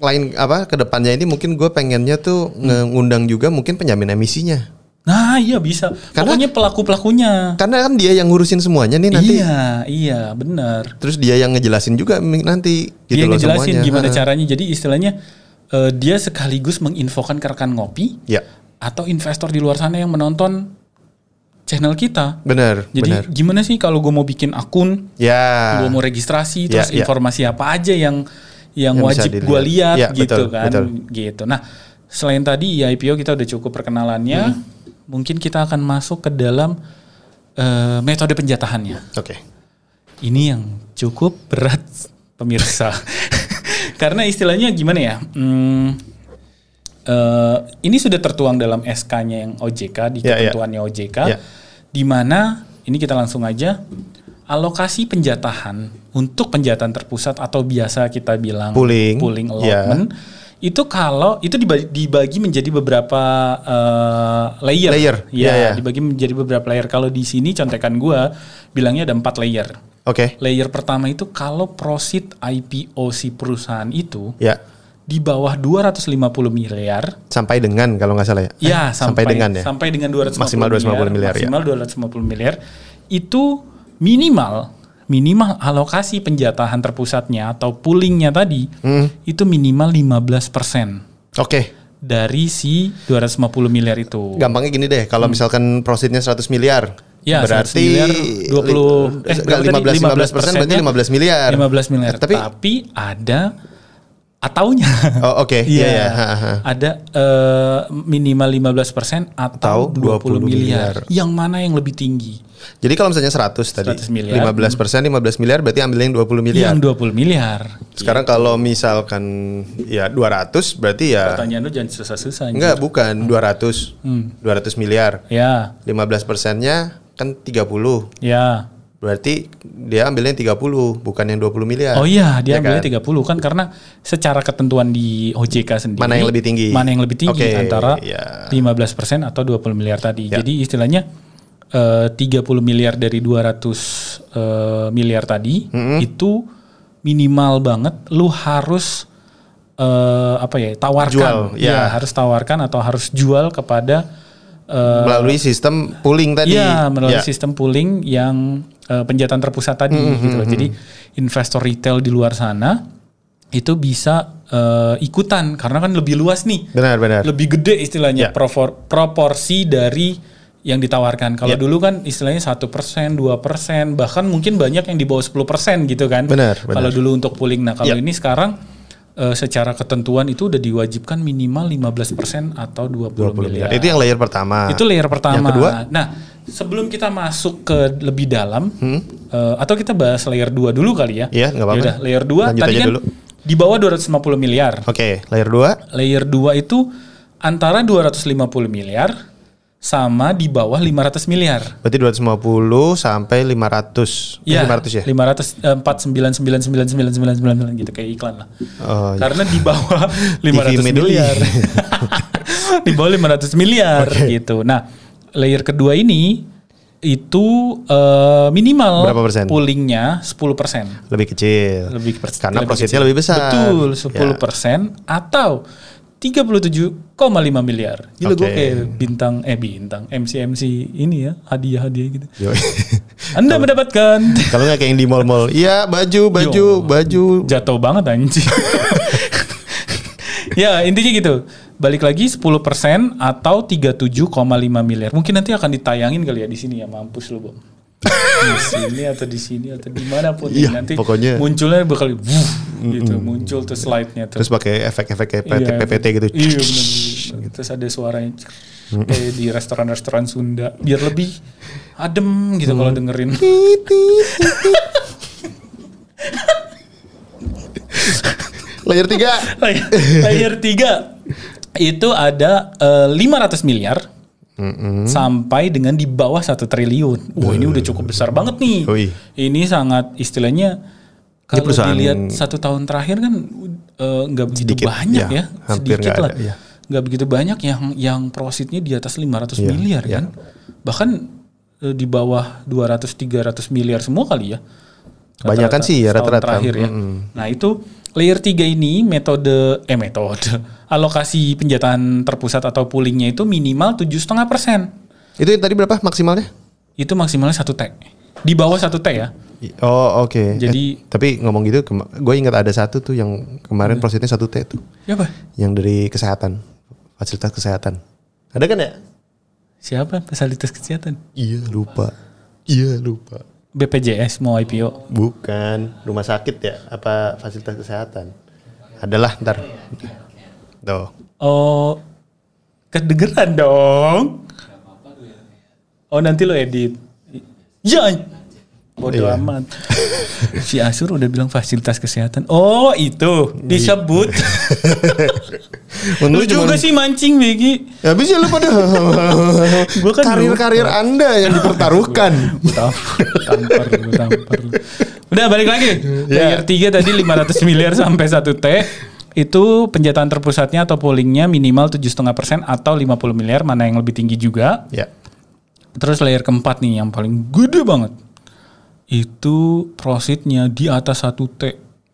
[SPEAKER 1] lain apa kedepannya ini mungkin gue pengennya tuh ngundang juga mungkin penjamin emisinya
[SPEAKER 2] Nah, iya bisa.
[SPEAKER 1] Karena-
[SPEAKER 2] Pokoknya pelaku-pelakunya.
[SPEAKER 1] karena kan dia yang ngurusin semuanya nih nanti
[SPEAKER 2] Iya, iya, benar.
[SPEAKER 1] terus dia yang ngejelasin juga mi- nanti gitu
[SPEAKER 2] dia
[SPEAKER 1] loh
[SPEAKER 2] ngejelasin
[SPEAKER 1] semuanya.
[SPEAKER 2] gimana
[SPEAKER 1] Ha-ha.
[SPEAKER 2] caranya. Jadi istilahnya eh, dia sekaligus menginfokan ke rekan ngopi
[SPEAKER 1] ya
[SPEAKER 2] atau investor di luar sana yang menonton channel kita.
[SPEAKER 1] benar
[SPEAKER 2] Jadi
[SPEAKER 1] benar
[SPEAKER 2] gimana sih kalau gue mau bikin akun,
[SPEAKER 1] ya
[SPEAKER 2] gue mau
[SPEAKER 1] Ya,
[SPEAKER 2] registrasi, terus
[SPEAKER 1] ya.
[SPEAKER 2] informasi apa aja yang
[SPEAKER 1] Yang
[SPEAKER 2] yang,
[SPEAKER 1] bisa
[SPEAKER 2] wajib gue
[SPEAKER 1] dilihat.
[SPEAKER 2] lihat
[SPEAKER 1] Ya,
[SPEAKER 2] gitu
[SPEAKER 1] betul,
[SPEAKER 2] kan,
[SPEAKER 1] betul.
[SPEAKER 2] gitu. Nah, selain tadi IPO kita udah cukup
[SPEAKER 1] Hmm.
[SPEAKER 2] perkenalannya, mungkin kita akan masuk ke dalam eh, metode penjatahannya.
[SPEAKER 1] oke
[SPEAKER 2] Ini yang cukup berat pemirsa. Karena istilahnya gimana ya? Hmm, eh, ini sudah tertuang dalam SK-nya yang OJK di
[SPEAKER 1] Ya, ya.
[SPEAKER 2] ketentuannya OJK,
[SPEAKER 1] Ya.
[SPEAKER 2] di mana ini kita langsung aja alokasi penjatahan untuk penjatahan terpusat atau biasa kita bilang
[SPEAKER 1] Pooling.
[SPEAKER 2] pooling
[SPEAKER 1] Ya.
[SPEAKER 2] allotment itu kalau itu dibagi, dibagi menjadi beberapa eh, layer,
[SPEAKER 1] Layer.
[SPEAKER 2] ya,
[SPEAKER 1] Ya, ya.
[SPEAKER 2] dibagi menjadi beberapa layer. Kalau di sini contekan gua bilangnya ada empat layer.
[SPEAKER 1] oke
[SPEAKER 2] Layer pertama itu kalau proceed IPO si perusahaan itu
[SPEAKER 1] ya
[SPEAKER 2] di bawah 250 miliar,
[SPEAKER 1] sampai dengan kalau nggak salah ya Eh,
[SPEAKER 2] ya sampai,
[SPEAKER 1] dengan ya
[SPEAKER 2] sampai dengan 250
[SPEAKER 1] Maksimal 250 miliar, ya.
[SPEAKER 2] maksimal 250 miliar itu minimal minimal alokasi penjatahan
[SPEAKER 1] Hmm.
[SPEAKER 2] terpusatnya atau poolingnya tadi itu minimal 15 persen
[SPEAKER 1] oke
[SPEAKER 2] dari si 250 miliar itu.
[SPEAKER 1] Gampangnya gini deh, kalau misalkan profitnya 100 miliar,
[SPEAKER 2] Hmm. Ya, 100
[SPEAKER 1] berarti
[SPEAKER 2] miliar, 20
[SPEAKER 1] eh,
[SPEAKER 2] eh, berapa tadi?
[SPEAKER 1] 15 15 persen berarti 15 miliar.
[SPEAKER 2] 15 ya? miliar.
[SPEAKER 1] Eh,
[SPEAKER 2] Tapi,
[SPEAKER 1] Tapi
[SPEAKER 2] ada ataunya.
[SPEAKER 1] Oh, oke. Iya, iya. Ha, ha.
[SPEAKER 2] Ada eh, minimal 15 persen atau,
[SPEAKER 1] Atau 20
[SPEAKER 2] 20 miliar.
[SPEAKER 1] miliar.
[SPEAKER 2] Yang mana yang lebih tinggi?
[SPEAKER 1] jadi kalau misalnya 100 tadi,
[SPEAKER 2] 100 miliar. Iya,
[SPEAKER 1] 15 persen 15 miliar berarti ambil yang 20 miliar.
[SPEAKER 2] Yang 20 miliar. iya.
[SPEAKER 1] Sekarang kalau misalkan ya 200 berarti ya
[SPEAKER 2] Pertanyaan lu jangan susah-susah. anjing.
[SPEAKER 1] enggak
[SPEAKER 2] Hmm.
[SPEAKER 1] bukan 200. 200 miliar.
[SPEAKER 2] Ya,
[SPEAKER 1] 15 persennya kan 30.
[SPEAKER 2] ya.
[SPEAKER 1] Berarti dia ambilnya 30 bukan yang 20 miliar.
[SPEAKER 2] Oh iya,
[SPEAKER 1] Ya
[SPEAKER 2] dia ambilnya
[SPEAKER 1] kan?
[SPEAKER 2] 30 kan karena secara ketentuan di OJK sendiri
[SPEAKER 1] Mana yang lebih tinggi?
[SPEAKER 2] Mana yang lebih tinggi
[SPEAKER 1] Oke, Iya.
[SPEAKER 2] antara
[SPEAKER 1] ya.
[SPEAKER 2] 15% atau 20 miliar tadi. Jadi istilahnya eh, 30 miliar dari 200 eh, miliar tadi
[SPEAKER 1] Mm-hmm.
[SPEAKER 2] itu minimal banget lu harus eh, apa ya?
[SPEAKER 1] Jual,
[SPEAKER 2] tawarkan. Iya,
[SPEAKER 1] ya.
[SPEAKER 2] harus tawarkan atau harus jual kepada eh,
[SPEAKER 1] melalui sistem pooling tadi.
[SPEAKER 2] Iya, melalui
[SPEAKER 1] Ya.
[SPEAKER 2] sistem pooling yang eh, penjataan terpusat tadi
[SPEAKER 1] Mm-hmm,
[SPEAKER 2] gitu loh. Jadi investor retail di luar sana itu bisa eh, ikutan karena kan lebih luas nih.
[SPEAKER 1] Benar, benar.
[SPEAKER 2] Lebih gede
[SPEAKER 1] Ya.
[SPEAKER 2] istilahnya propor- proporsi dari yang ditawarkan.
[SPEAKER 1] Iya.
[SPEAKER 2] Kalau dulu kan istilahnya satu persen, dua persen, bahkan mungkin banyak yang di bawah 10% gitu kan.
[SPEAKER 1] Benar, benar.
[SPEAKER 2] Kalau dulu untuk pooling. Nah kalau
[SPEAKER 1] Ya.
[SPEAKER 2] ini sekarang eh, secara ketentuan itu udah diwajibkan minimal 15% atau 20,
[SPEAKER 1] 20 miliar.
[SPEAKER 2] miliar.
[SPEAKER 1] Itu yang layer pertama.
[SPEAKER 2] Itu layer
[SPEAKER 1] Ah.
[SPEAKER 2] pertama.
[SPEAKER 1] Yang kedua?
[SPEAKER 2] Nah, sebelum kita masuk ke lebih dalam, eh, atau kita bahas layer 2 dulu kali ya.
[SPEAKER 1] Hmm? Iya, nggak apa-apa.
[SPEAKER 2] Yaudah, layer 2
[SPEAKER 1] Lanjut
[SPEAKER 2] tadi
[SPEAKER 1] aja
[SPEAKER 2] kan
[SPEAKER 1] dulu.
[SPEAKER 2] di bawah 250 miliar.
[SPEAKER 1] Oke, layer 2
[SPEAKER 2] Layer 2 itu antara 250 miliar sama di bawah 500 miliar.
[SPEAKER 1] berarti 250 sampai 500. Eh, 500 ya?
[SPEAKER 2] 500 Iya, eh, 4999999 gitu kayak iklan lah.
[SPEAKER 1] Oh, iya.
[SPEAKER 2] Karena di bawah
[SPEAKER 1] TV
[SPEAKER 2] 500
[SPEAKER 1] Middle
[SPEAKER 2] miliar. di bawah 500 miliar gitu. Nah, layer kedua ini itu eh, minimal
[SPEAKER 1] Berapa persen?
[SPEAKER 2] poolingnya 10 persen.
[SPEAKER 1] lebih kecil.
[SPEAKER 2] Lebih pers-
[SPEAKER 1] Karena
[SPEAKER 2] lebih
[SPEAKER 1] profitnya
[SPEAKER 2] kecil.
[SPEAKER 1] lebih besar.
[SPEAKER 2] Betul,
[SPEAKER 1] Ya.
[SPEAKER 2] 10 persen atau 37,5 miliar. Gila
[SPEAKER 1] Oke.
[SPEAKER 2] gue kayak bintang eh bintang MC MC ini ya hadiah-hadiah gitu.
[SPEAKER 1] Yo.
[SPEAKER 2] Anda mendapatkan
[SPEAKER 1] Kalau nggak kayak yang di mall-mall, iya baju, baju,
[SPEAKER 2] Yo.
[SPEAKER 1] baju.
[SPEAKER 2] jatuh banget anjing. ya intinya gitu. Balik lagi 10% atau 37,5 miliar. Mungkin nanti akan ditayangin kali ya di sini ya mampus lu, Bom. di sini atau di sini atau dimanapun
[SPEAKER 1] Iya,
[SPEAKER 2] nanti
[SPEAKER 1] pokoknya.
[SPEAKER 2] munculnya bakal wuh, gitu muncul tuh slide-nya tuh.
[SPEAKER 1] Terus pakai efek-efek kayak PT,
[SPEAKER 2] Iya,
[SPEAKER 1] PPT gitu.
[SPEAKER 2] Iya benar. Terus ada suaranya kayak di restoran-restoran Sunda biar lebih adem gitu kalau dengerin.
[SPEAKER 1] layer 3.
[SPEAKER 2] Layer- layer 3 itu ada eh, 500 miliar sampai dengan di bawah satu triliun. Wah ini
[SPEAKER 1] Eh.
[SPEAKER 2] udah cukup besar banget nih.
[SPEAKER 1] Ui.
[SPEAKER 2] Ini sangat istilahnya kalau
[SPEAKER 1] perusahaan-
[SPEAKER 2] dilihat satu tahun terakhir kan eh, nggak begitu
[SPEAKER 1] Sedikit,
[SPEAKER 2] banyak
[SPEAKER 1] ya.
[SPEAKER 2] ya,
[SPEAKER 1] Hampir
[SPEAKER 2] sedikit
[SPEAKER 1] nggak
[SPEAKER 2] lah.
[SPEAKER 1] ada, ya.
[SPEAKER 2] Nggak begitu banyak yang yang profitnya di atas 500 miliar
[SPEAKER 1] ya.
[SPEAKER 2] kan. Bahkan eh, di bawah 200-300 miliar semua kali ya.
[SPEAKER 1] Kebanyakan
[SPEAKER 2] Rata-rata
[SPEAKER 1] sih ya,
[SPEAKER 2] setahun
[SPEAKER 1] rata-rata.
[SPEAKER 2] Terakhir ya. Nah itu layer 3 ini metode eh metode alokasi penjataan terpusat atau poolingnya itu minimal 7,5 persen.
[SPEAKER 1] Itu yang tadi berapa maksimalnya?
[SPEAKER 2] Itu maksimalnya satu T. Di bawah satu T ya.
[SPEAKER 1] Oh oke. Eh,
[SPEAKER 2] Jadi-
[SPEAKER 1] tapi ngomong gitu, gue ingat ada satu tuh yang kemarin
[SPEAKER 2] Hmm.
[SPEAKER 1] prosesnya satu t tuh,
[SPEAKER 2] Ya apa?
[SPEAKER 1] yang dari kesehatan, fasilitas kesehatan. Ada kan ya?
[SPEAKER 2] Siapa fasilitas kesehatan?
[SPEAKER 1] Iya lupa. Iya lupa.
[SPEAKER 2] BPJS mau IPO.
[SPEAKER 1] Bukan rumah sakit ya? Apa fasilitas kesehatan? Adalah ntar. Tuh.
[SPEAKER 2] Oh kedengeran dong. Oh nanti lo edit. Ya. Bodoh
[SPEAKER 1] Iya.
[SPEAKER 2] amat. si Asur udah bilang fasilitas kesehatan. Oh itu disebut. Lu juga sih mancing Begi.
[SPEAKER 1] Habis ya lu pada
[SPEAKER 2] Gua kan
[SPEAKER 1] karir-karir Anda yang dipertaruhkan.
[SPEAKER 2] Gua tampar, tampar, gua tampar. Udah balik lagi. Layer 3 tadi 500 miliar sampai 1 T. Itu penjataan terpusatnya atau poolingnya minimal 7,5% atau 50 miliar. Mana yang lebih tinggi juga.
[SPEAKER 1] ya.
[SPEAKER 2] Terus layer keempat nih yang paling gede banget. Itu profitnya di atas 1 T.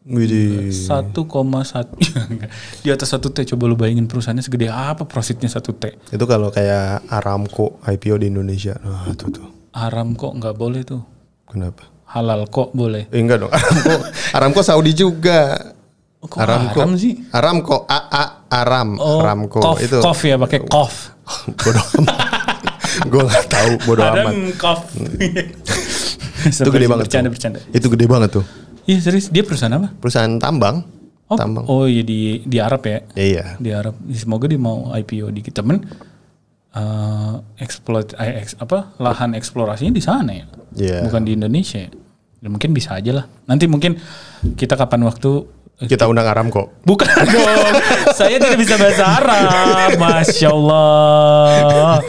[SPEAKER 1] Widih.
[SPEAKER 2] 1,1 Iya, di atas 1 T coba lu bayangin perusahaannya segede apa profitnya 1 T.
[SPEAKER 1] Itu kalau kayak Aramco IPO di Indonesia. Nah, itu tuh.
[SPEAKER 2] Haram kok nggak boleh tuh.
[SPEAKER 1] Kenapa?
[SPEAKER 2] Halal kok boleh.
[SPEAKER 1] Eh, enggak dong. Aramco Aramco Saudi juga.
[SPEAKER 2] Kok haram sih?
[SPEAKER 1] Aramco, A A Aram,
[SPEAKER 2] Oh,
[SPEAKER 1] Aramco
[SPEAKER 2] kof,
[SPEAKER 1] itu.
[SPEAKER 2] kof ya pakai kof.
[SPEAKER 1] bodoh amat. Gue gak tahu bodoh amat.
[SPEAKER 2] Adam kof.
[SPEAKER 1] Itu gede banget. tuh.
[SPEAKER 2] Bercanda bercanda.
[SPEAKER 1] Itu gede banget tuh.
[SPEAKER 2] Iya serius dia perusahaan apa?
[SPEAKER 1] Perusahaan tambang.
[SPEAKER 2] Oh,
[SPEAKER 1] Tambang.
[SPEAKER 2] oh iya di di Arab ya.
[SPEAKER 1] Ya, iya.
[SPEAKER 2] Di Arab. Semoga dia mau IPO di kita men. eh, exploit eh, ex- apa lahan eksplorasinya di sana ya.
[SPEAKER 1] Iya.
[SPEAKER 2] Bukan di Indonesia. ya. Ya, mungkin bisa aja lah. Nanti mungkin kita kapan waktu eh,
[SPEAKER 1] Kita undang Aramco.
[SPEAKER 2] Bukan dong, saya tidak bisa bahasa Arab, masya Allah.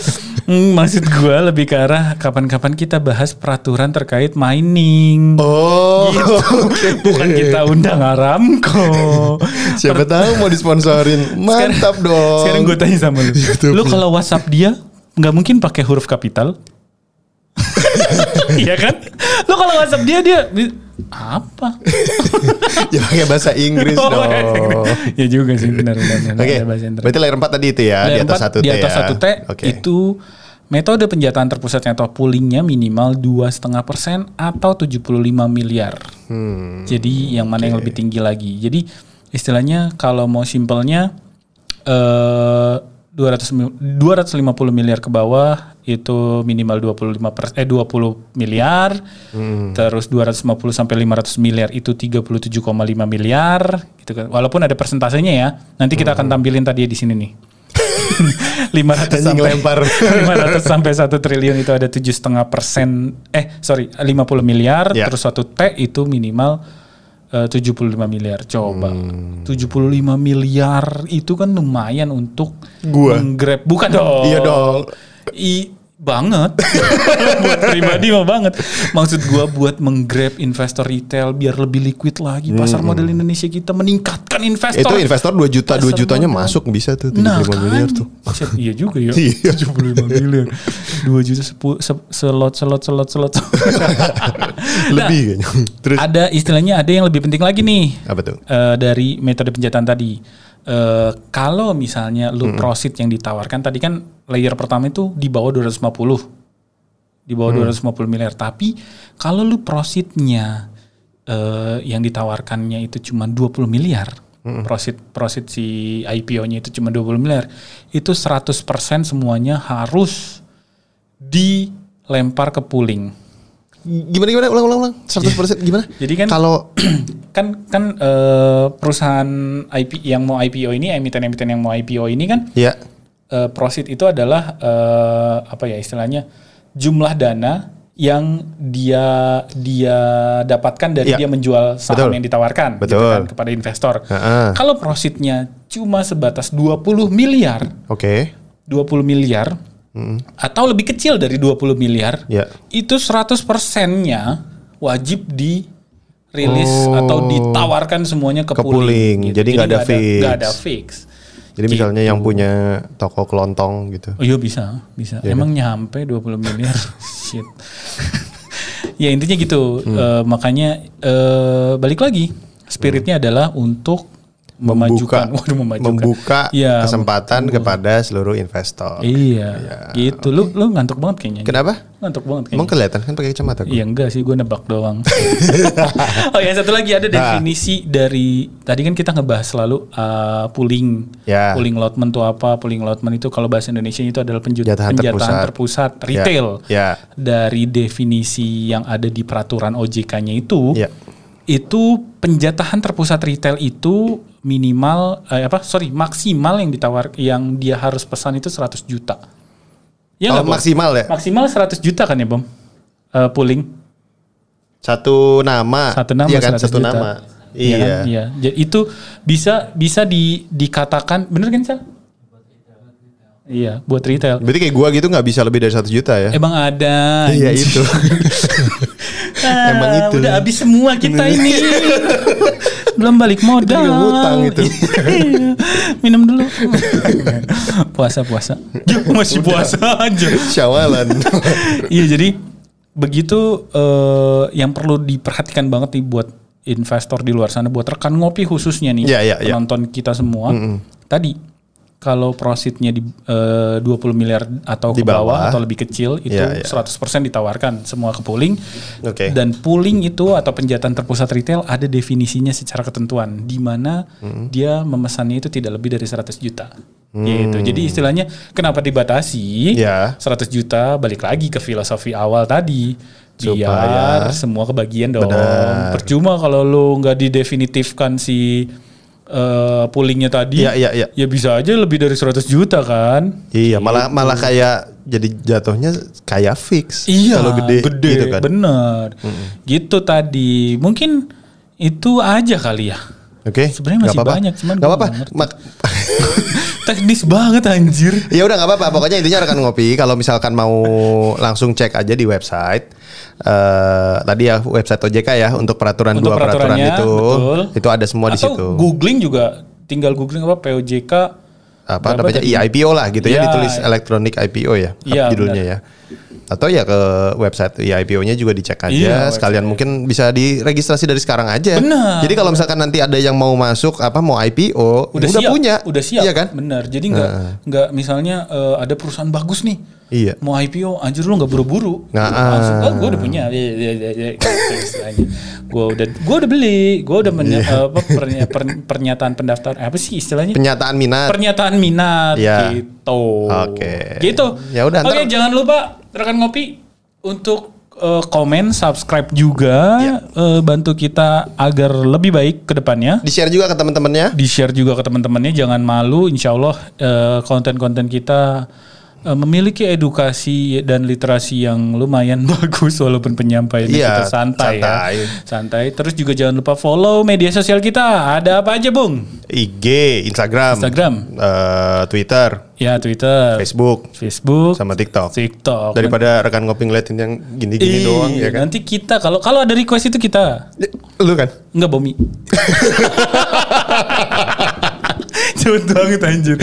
[SPEAKER 2] Hmm, maksud gue lebih ke arah kapan-kapan kita bahas peraturan terkait mining.
[SPEAKER 1] Oh.
[SPEAKER 2] Gitu. Bukan kita undang Aramco.
[SPEAKER 1] Siapa tahu mau disponsorin. Mantap dong.
[SPEAKER 2] Sekarang gue tanya sama lu. Lu kalau WhatsApp dia nggak mungkin pakai huruf kapital. Iya kan? Lu kalau WhatsApp dia dia bi- apa? Oh,
[SPEAKER 1] ya pakai bahasa Inggris dong.
[SPEAKER 2] ya juga sih benar-benar.
[SPEAKER 1] Oke. Berarti layer 4 tadi itu ya, di
[SPEAKER 2] Layer
[SPEAKER 1] atas
[SPEAKER 2] empat,
[SPEAKER 1] 1 T
[SPEAKER 2] di atas
[SPEAKER 1] ya.
[SPEAKER 2] 1T
[SPEAKER 1] Oke.
[SPEAKER 2] itu metode penjataan terpusatnya atau poolingnya minimal 2,5 persen atau 75 miliar.
[SPEAKER 1] Hmm.
[SPEAKER 2] Jadi yang mana yang lebih tinggi lagi. Jadi istilahnya kalau mau simpelnya eh 200 250 miliar ke bawah itu minimal 25 persen, eh 20 miliar. Terus 250 sampai 500 miliar itu 37,5 miliar gitu kan. Walaupun ada persentasenya ya. Nanti kita akan tampilin tadi di sini nih. 500
[SPEAKER 1] Anjing
[SPEAKER 2] sampai
[SPEAKER 1] lempar.
[SPEAKER 2] 500 sampai 1 triliun itu ada tujuh setengah persen eh sorry 50 miliar
[SPEAKER 1] Ya.
[SPEAKER 2] terus satu T itu minimal eh, 75 miliar coba
[SPEAKER 1] Hmm.
[SPEAKER 2] 75 miliar itu kan lumayan untuk
[SPEAKER 1] Gua.
[SPEAKER 2] menggrab bukan dong
[SPEAKER 1] Iya dong.
[SPEAKER 2] I banget buat pribadi mah banget maksud gua buat menggrab investor retail biar lebih liquid lagi pasar modal Indonesia kita meningkatkan investor
[SPEAKER 1] Hmm. Itu investor 2 juta, 2
[SPEAKER 2] Pasar
[SPEAKER 1] jutanya
[SPEAKER 2] modal.
[SPEAKER 1] masuk bisa tuh 75
[SPEAKER 2] Nah,
[SPEAKER 1] miliar
[SPEAKER 2] kan.
[SPEAKER 1] tuh.
[SPEAKER 2] Set- Iya juga ya.
[SPEAKER 1] Iya.
[SPEAKER 2] 75 miliar. 2 juta sepu- se- selot selot selot selot. Nah.
[SPEAKER 1] Lebih kayaknya. Terus
[SPEAKER 2] ada istilahnya ada yang lebih penting lagi nih.
[SPEAKER 1] apa tuh?
[SPEAKER 2] Eh, dari metode penjataan tadi. Eh, kalau misalnya lu profit yang ditawarkan tadi kan layer pertama itu di bawah 250 di bawah 250 miliar tapi kalau lu profitnya eh, yang ditawarkannya itu cuma 20 miliar profit profit si IPO-nya itu cuma 20 miliar itu 100% semuanya harus dilempar ke pooling
[SPEAKER 1] Gimana gimana ulang ulang ulang 100% gimana?
[SPEAKER 2] Jadi kan-
[SPEAKER 1] kalau
[SPEAKER 2] kan kan eh, perusahaan IP yang mau IPO ini emiten-emiten yang mau IPO ini kan
[SPEAKER 1] ya
[SPEAKER 2] eh, proceed itu adalah eh, apa ya istilahnya jumlah dana yang dia dia dapatkan dari
[SPEAKER 1] Iya.
[SPEAKER 2] dia menjual saham
[SPEAKER 1] Betul.
[SPEAKER 2] yang ditawarkan gitu
[SPEAKER 1] Betul.
[SPEAKER 2] kan, kepada investor.
[SPEAKER 1] Ha-ha.
[SPEAKER 2] Kalau proceednya cuma sebatas 20 miliar,
[SPEAKER 1] oke.
[SPEAKER 2] 20 miliar atau lebih kecil dari 20 miliar,
[SPEAKER 1] Ya.
[SPEAKER 2] itu 100 persennya wajib di rilis atau ditawarkan semuanya ke,
[SPEAKER 1] Oh. Ke pooling. Jadi nggak ada fix.
[SPEAKER 2] Gak ada fix.
[SPEAKER 1] Jadi misalnya yang punya toko kelontong gitu.
[SPEAKER 2] Oh iya bisa, bisa.
[SPEAKER 1] Ya kan?
[SPEAKER 2] Emang nyampe 20 miliar. Shit. ya intinya gitu.
[SPEAKER 1] Hmm.
[SPEAKER 2] Eh, makanya eh, balik lagi spiritnya adalah untuk
[SPEAKER 1] Hmm. Membuka
[SPEAKER 2] memajukan, waduh memajukan.
[SPEAKER 1] membuka
[SPEAKER 2] Iya,
[SPEAKER 1] kesempatan Ya. kepada seluruh investor.
[SPEAKER 2] Iya, gitu. Lu lu ngantuk banget kayaknya.
[SPEAKER 1] Kenapa?
[SPEAKER 2] Ngantuk banget kayaknya.
[SPEAKER 1] Emang kelihatan kan pakai kacamata gua?
[SPEAKER 2] Iya enggak sih, gue nebak doang. oh ya satu lagi
[SPEAKER 1] Nah.
[SPEAKER 2] ada definisi dari tadi kan kita ngebahas selalu uh, pooling,
[SPEAKER 1] Ya.
[SPEAKER 2] pooling allotment itu apa? Pooling allotment itu kalau bahasa Indonesia itu adalah penju-
[SPEAKER 1] Jatahan
[SPEAKER 2] penjataan
[SPEAKER 1] terpusat.
[SPEAKER 2] terpusat, retail.
[SPEAKER 1] Ya.
[SPEAKER 2] Dari definisi yang ada di peraturan OJK-nya itu,
[SPEAKER 1] Ya.
[SPEAKER 2] itu penjatahan terpusat retail itu minimal eh, apa? Sorry, maksimal yang ditawar yang dia harus pesan itu 100 juta. Ya
[SPEAKER 1] Oh,
[SPEAKER 2] nggak, Bom?
[SPEAKER 1] maksimal ya?
[SPEAKER 2] Maksimal 100 juta kan ya, Bom? Eh, pooling.
[SPEAKER 1] Satu nama.
[SPEAKER 2] satu nama
[SPEAKER 1] Iya kan
[SPEAKER 2] 100
[SPEAKER 1] satu
[SPEAKER 2] juta.
[SPEAKER 1] nama.
[SPEAKER 2] Iya.
[SPEAKER 1] Iya.
[SPEAKER 2] kan? Iya. Jadi itu bisa bisa di, dikatakan bener kan, Sal? Iya, buat retail.
[SPEAKER 1] Berarti kayak gua gitu nggak bisa lebih dari satu juta ya?
[SPEAKER 2] Emang ada.
[SPEAKER 1] Iya itu.
[SPEAKER 2] Ah,
[SPEAKER 1] emang itu. Iya.
[SPEAKER 2] Udah habis semua kita ini. Belum balik modal.
[SPEAKER 1] juga ngutang itu.
[SPEAKER 2] Iya. Minum dulu. Puasa-puasa. Ya, masih puasa aja.
[SPEAKER 1] Syawalan.
[SPEAKER 2] Iya jadi begitu eh, yang perlu diperhatikan banget nih buat investor di luar sana buat rekan ngopi khususnya nih
[SPEAKER 1] Iya, iya, iya.
[SPEAKER 2] penonton kita semua tadi kalau profitnya di eh, 20 miliar atau
[SPEAKER 1] Di
[SPEAKER 2] ke bawah,
[SPEAKER 1] bawah.
[SPEAKER 2] atau lebih kecil itu
[SPEAKER 1] Iya, iya.
[SPEAKER 2] 100% ditawarkan semua ke pooling.
[SPEAKER 1] Oke.
[SPEAKER 2] Dan pooling itu atau penjatan terpusat retail ada definisinya secara ketentuan di mana dia memesannya itu tidak lebih dari 100 juta.
[SPEAKER 1] Hmm.
[SPEAKER 2] Gitu. Jadi istilahnya kenapa dibatasi
[SPEAKER 1] Iya.
[SPEAKER 2] 100 juta balik lagi ke filosofi awal tadi
[SPEAKER 1] Supaya-
[SPEAKER 2] biar semua kebagian dong.
[SPEAKER 1] ya. Benar.
[SPEAKER 2] Percuma kalau lu nggak didefinitifkan si eh, poolingnya tadi.
[SPEAKER 1] Iya, iya, iya.
[SPEAKER 2] Ya bisa aja lebih dari 100 juta kan?
[SPEAKER 1] Iya, malah malah kayak jadi jatuhnya kayak fix. Kalau gede, gitu kan.
[SPEAKER 2] Bener. Iya, Gitu tadi. Mungkin itu aja kali ya.
[SPEAKER 1] Oke.
[SPEAKER 2] Sebenarnya
[SPEAKER 1] nggak
[SPEAKER 2] masih
[SPEAKER 1] apa-apa.
[SPEAKER 2] banyak, cuman
[SPEAKER 1] Nggak
[SPEAKER 2] gua
[SPEAKER 1] apa-apa.
[SPEAKER 2] nggak ngerti.
[SPEAKER 1] Mak-
[SPEAKER 2] Teknis banget anjir.
[SPEAKER 1] ya udah nggak apa-apa. Pokoknya intinya rekan ngopi. Kalau misalkan mau langsung cek aja di website. eh tadi ya website OJK ya untuk peraturan
[SPEAKER 2] Untuk
[SPEAKER 1] dua peraturan
[SPEAKER 2] peraturannya,
[SPEAKER 1] itu.
[SPEAKER 2] betul.
[SPEAKER 1] Itu ada semua di
[SPEAKER 2] Atau
[SPEAKER 1] situ.
[SPEAKER 2] googling juga tinggal googling apa POJK
[SPEAKER 1] Apa
[SPEAKER 2] berapa
[SPEAKER 1] namanya
[SPEAKER 2] tadi?
[SPEAKER 1] IIPO lah gitu ya,
[SPEAKER 2] Iya.
[SPEAKER 1] ditulis electronic IPO ya
[SPEAKER 2] Iya,
[SPEAKER 1] judulnya ya. Atau ya ke website iya, IIPO-nya juga dicek aja.
[SPEAKER 2] Iya, website.
[SPEAKER 1] Sekalian mungkin bisa diregistrasi dari sekarang aja.
[SPEAKER 2] Benar.
[SPEAKER 1] Jadi kalau misalkan nanti ada yang mau masuk apa mau IPO, udah,
[SPEAKER 2] siap,
[SPEAKER 1] punya.
[SPEAKER 2] udah siap,
[SPEAKER 1] Iya kan?
[SPEAKER 2] bener. Jadi nggak nggak misalnya eh, ada perusahaan bagus nih,
[SPEAKER 1] Iya.
[SPEAKER 2] mau IPO, anjir lu nggak buru-buru,
[SPEAKER 1] Nggak,
[SPEAKER 2] langsung,
[SPEAKER 1] ah.
[SPEAKER 2] oh, gue udah punya, iya, gue udah gue udah beli, gue udah menya-
[SPEAKER 1] Iya.
[SPEAKER 2] apa, pernya- per- pernyataan pendaftar apa sih istilahnya?
[SPEAKER 1] Penyataan minat.
[SPEAKER 2] pernyataan minat
[SPEAKER 1] Ya.
[SPEAKER 2] gitu.
[SPEAKER 1] Oke.
[SPEAKER 2] Gitu.
[SPEAKER 1] Ya udah,
[SPEAKER 2] Oke,
[SPEAKER 1] ntar-
[SPEAKER 2] jangan lupa rekan ngopi untuk eh, komen, subscribe juga,
[SPEAKER 1] Ya.
[SPEAKER 2] eh, bantu kita agar lebih baik ke depannya.
[SPEAKER 1] Di-share juga ke teman-temannya.
[SPEAKER 2] Di-share juga ke teman-temannya, jangan malu. Insya Allah eh, konten-konten kita eh, memiliki edukasi dan literasi yang lumayan bagus walaupun penyampaiannya
[SPEAKER 1] Iya,
[SPEAKER 2] kita santai,
[SPEAKER 1] santai.
[SPEAKER 2] ya. Santai. Terus juga jangan lupa follow media sosial kita. Ada apa aja, Bung?
[SPEAKER 1] IG, Instagram,
[SPEAKER 2] Instagram.
[SPEAKER 1] eh, Twitter,
[SPEAKER 2] Ya, Twitter.
[SPEAKER 1] Facebook,
[SPEAKER 2] Facebook,
[SPEAKER 1] sama TikTok.
[SPEAKER 2] TikTok. kan. Iya,
[SPEAKER 1] Daripada rekan ngopi ngeliatin yang gini-gini
[SPEAKER 2] Ih,
[SPEAKER 1] doang ya kan.
[SPEAKER 2] Nanti kita kalau kalau ada request itu kita
[SPEAKER 1] Lu kan.
[SPEAKER 2] nggak bomi. Cepet banget anjir.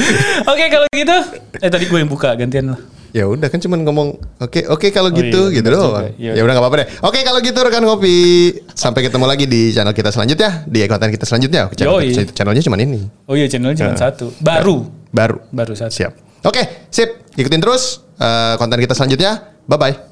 [SPEAKER 2] Oke kalau gitu, eh tadi gue yang buka gantian lah.
[SPEAKER 1] Ya udah kan cuman ngomong oke oke kalau
[SPEAKER 2] Oh
[SPEAKER 1] gitu
[SPEAKER 2] iya,
[SPEAKER 1] gitu
[SPEAKER 2] bener
[SPEAKER 1] doang.
[SPEAKER 2] juga. Iya.
[SPEAKER 1] Ya udah nggak apa-apa deh. Oke kalau gitu rekan ngopi. Sampai ketemu lagi di channel kita selanjutnya, di konten kita selanjutnya. Channel,
[SPEAKER 2] Yoi.
[SPEAKER 1] channelnya cuman ini.
[SPEAKER 2] Oh iya channelnya cuma satu, baru,
[SPEAKER 1] Baru.
[SPEAKER 2] baru satu.
[SPEAKER 1] Siap. Oke, sip. Ikutin terus eh, konten kita selanjutnya. Bye bye.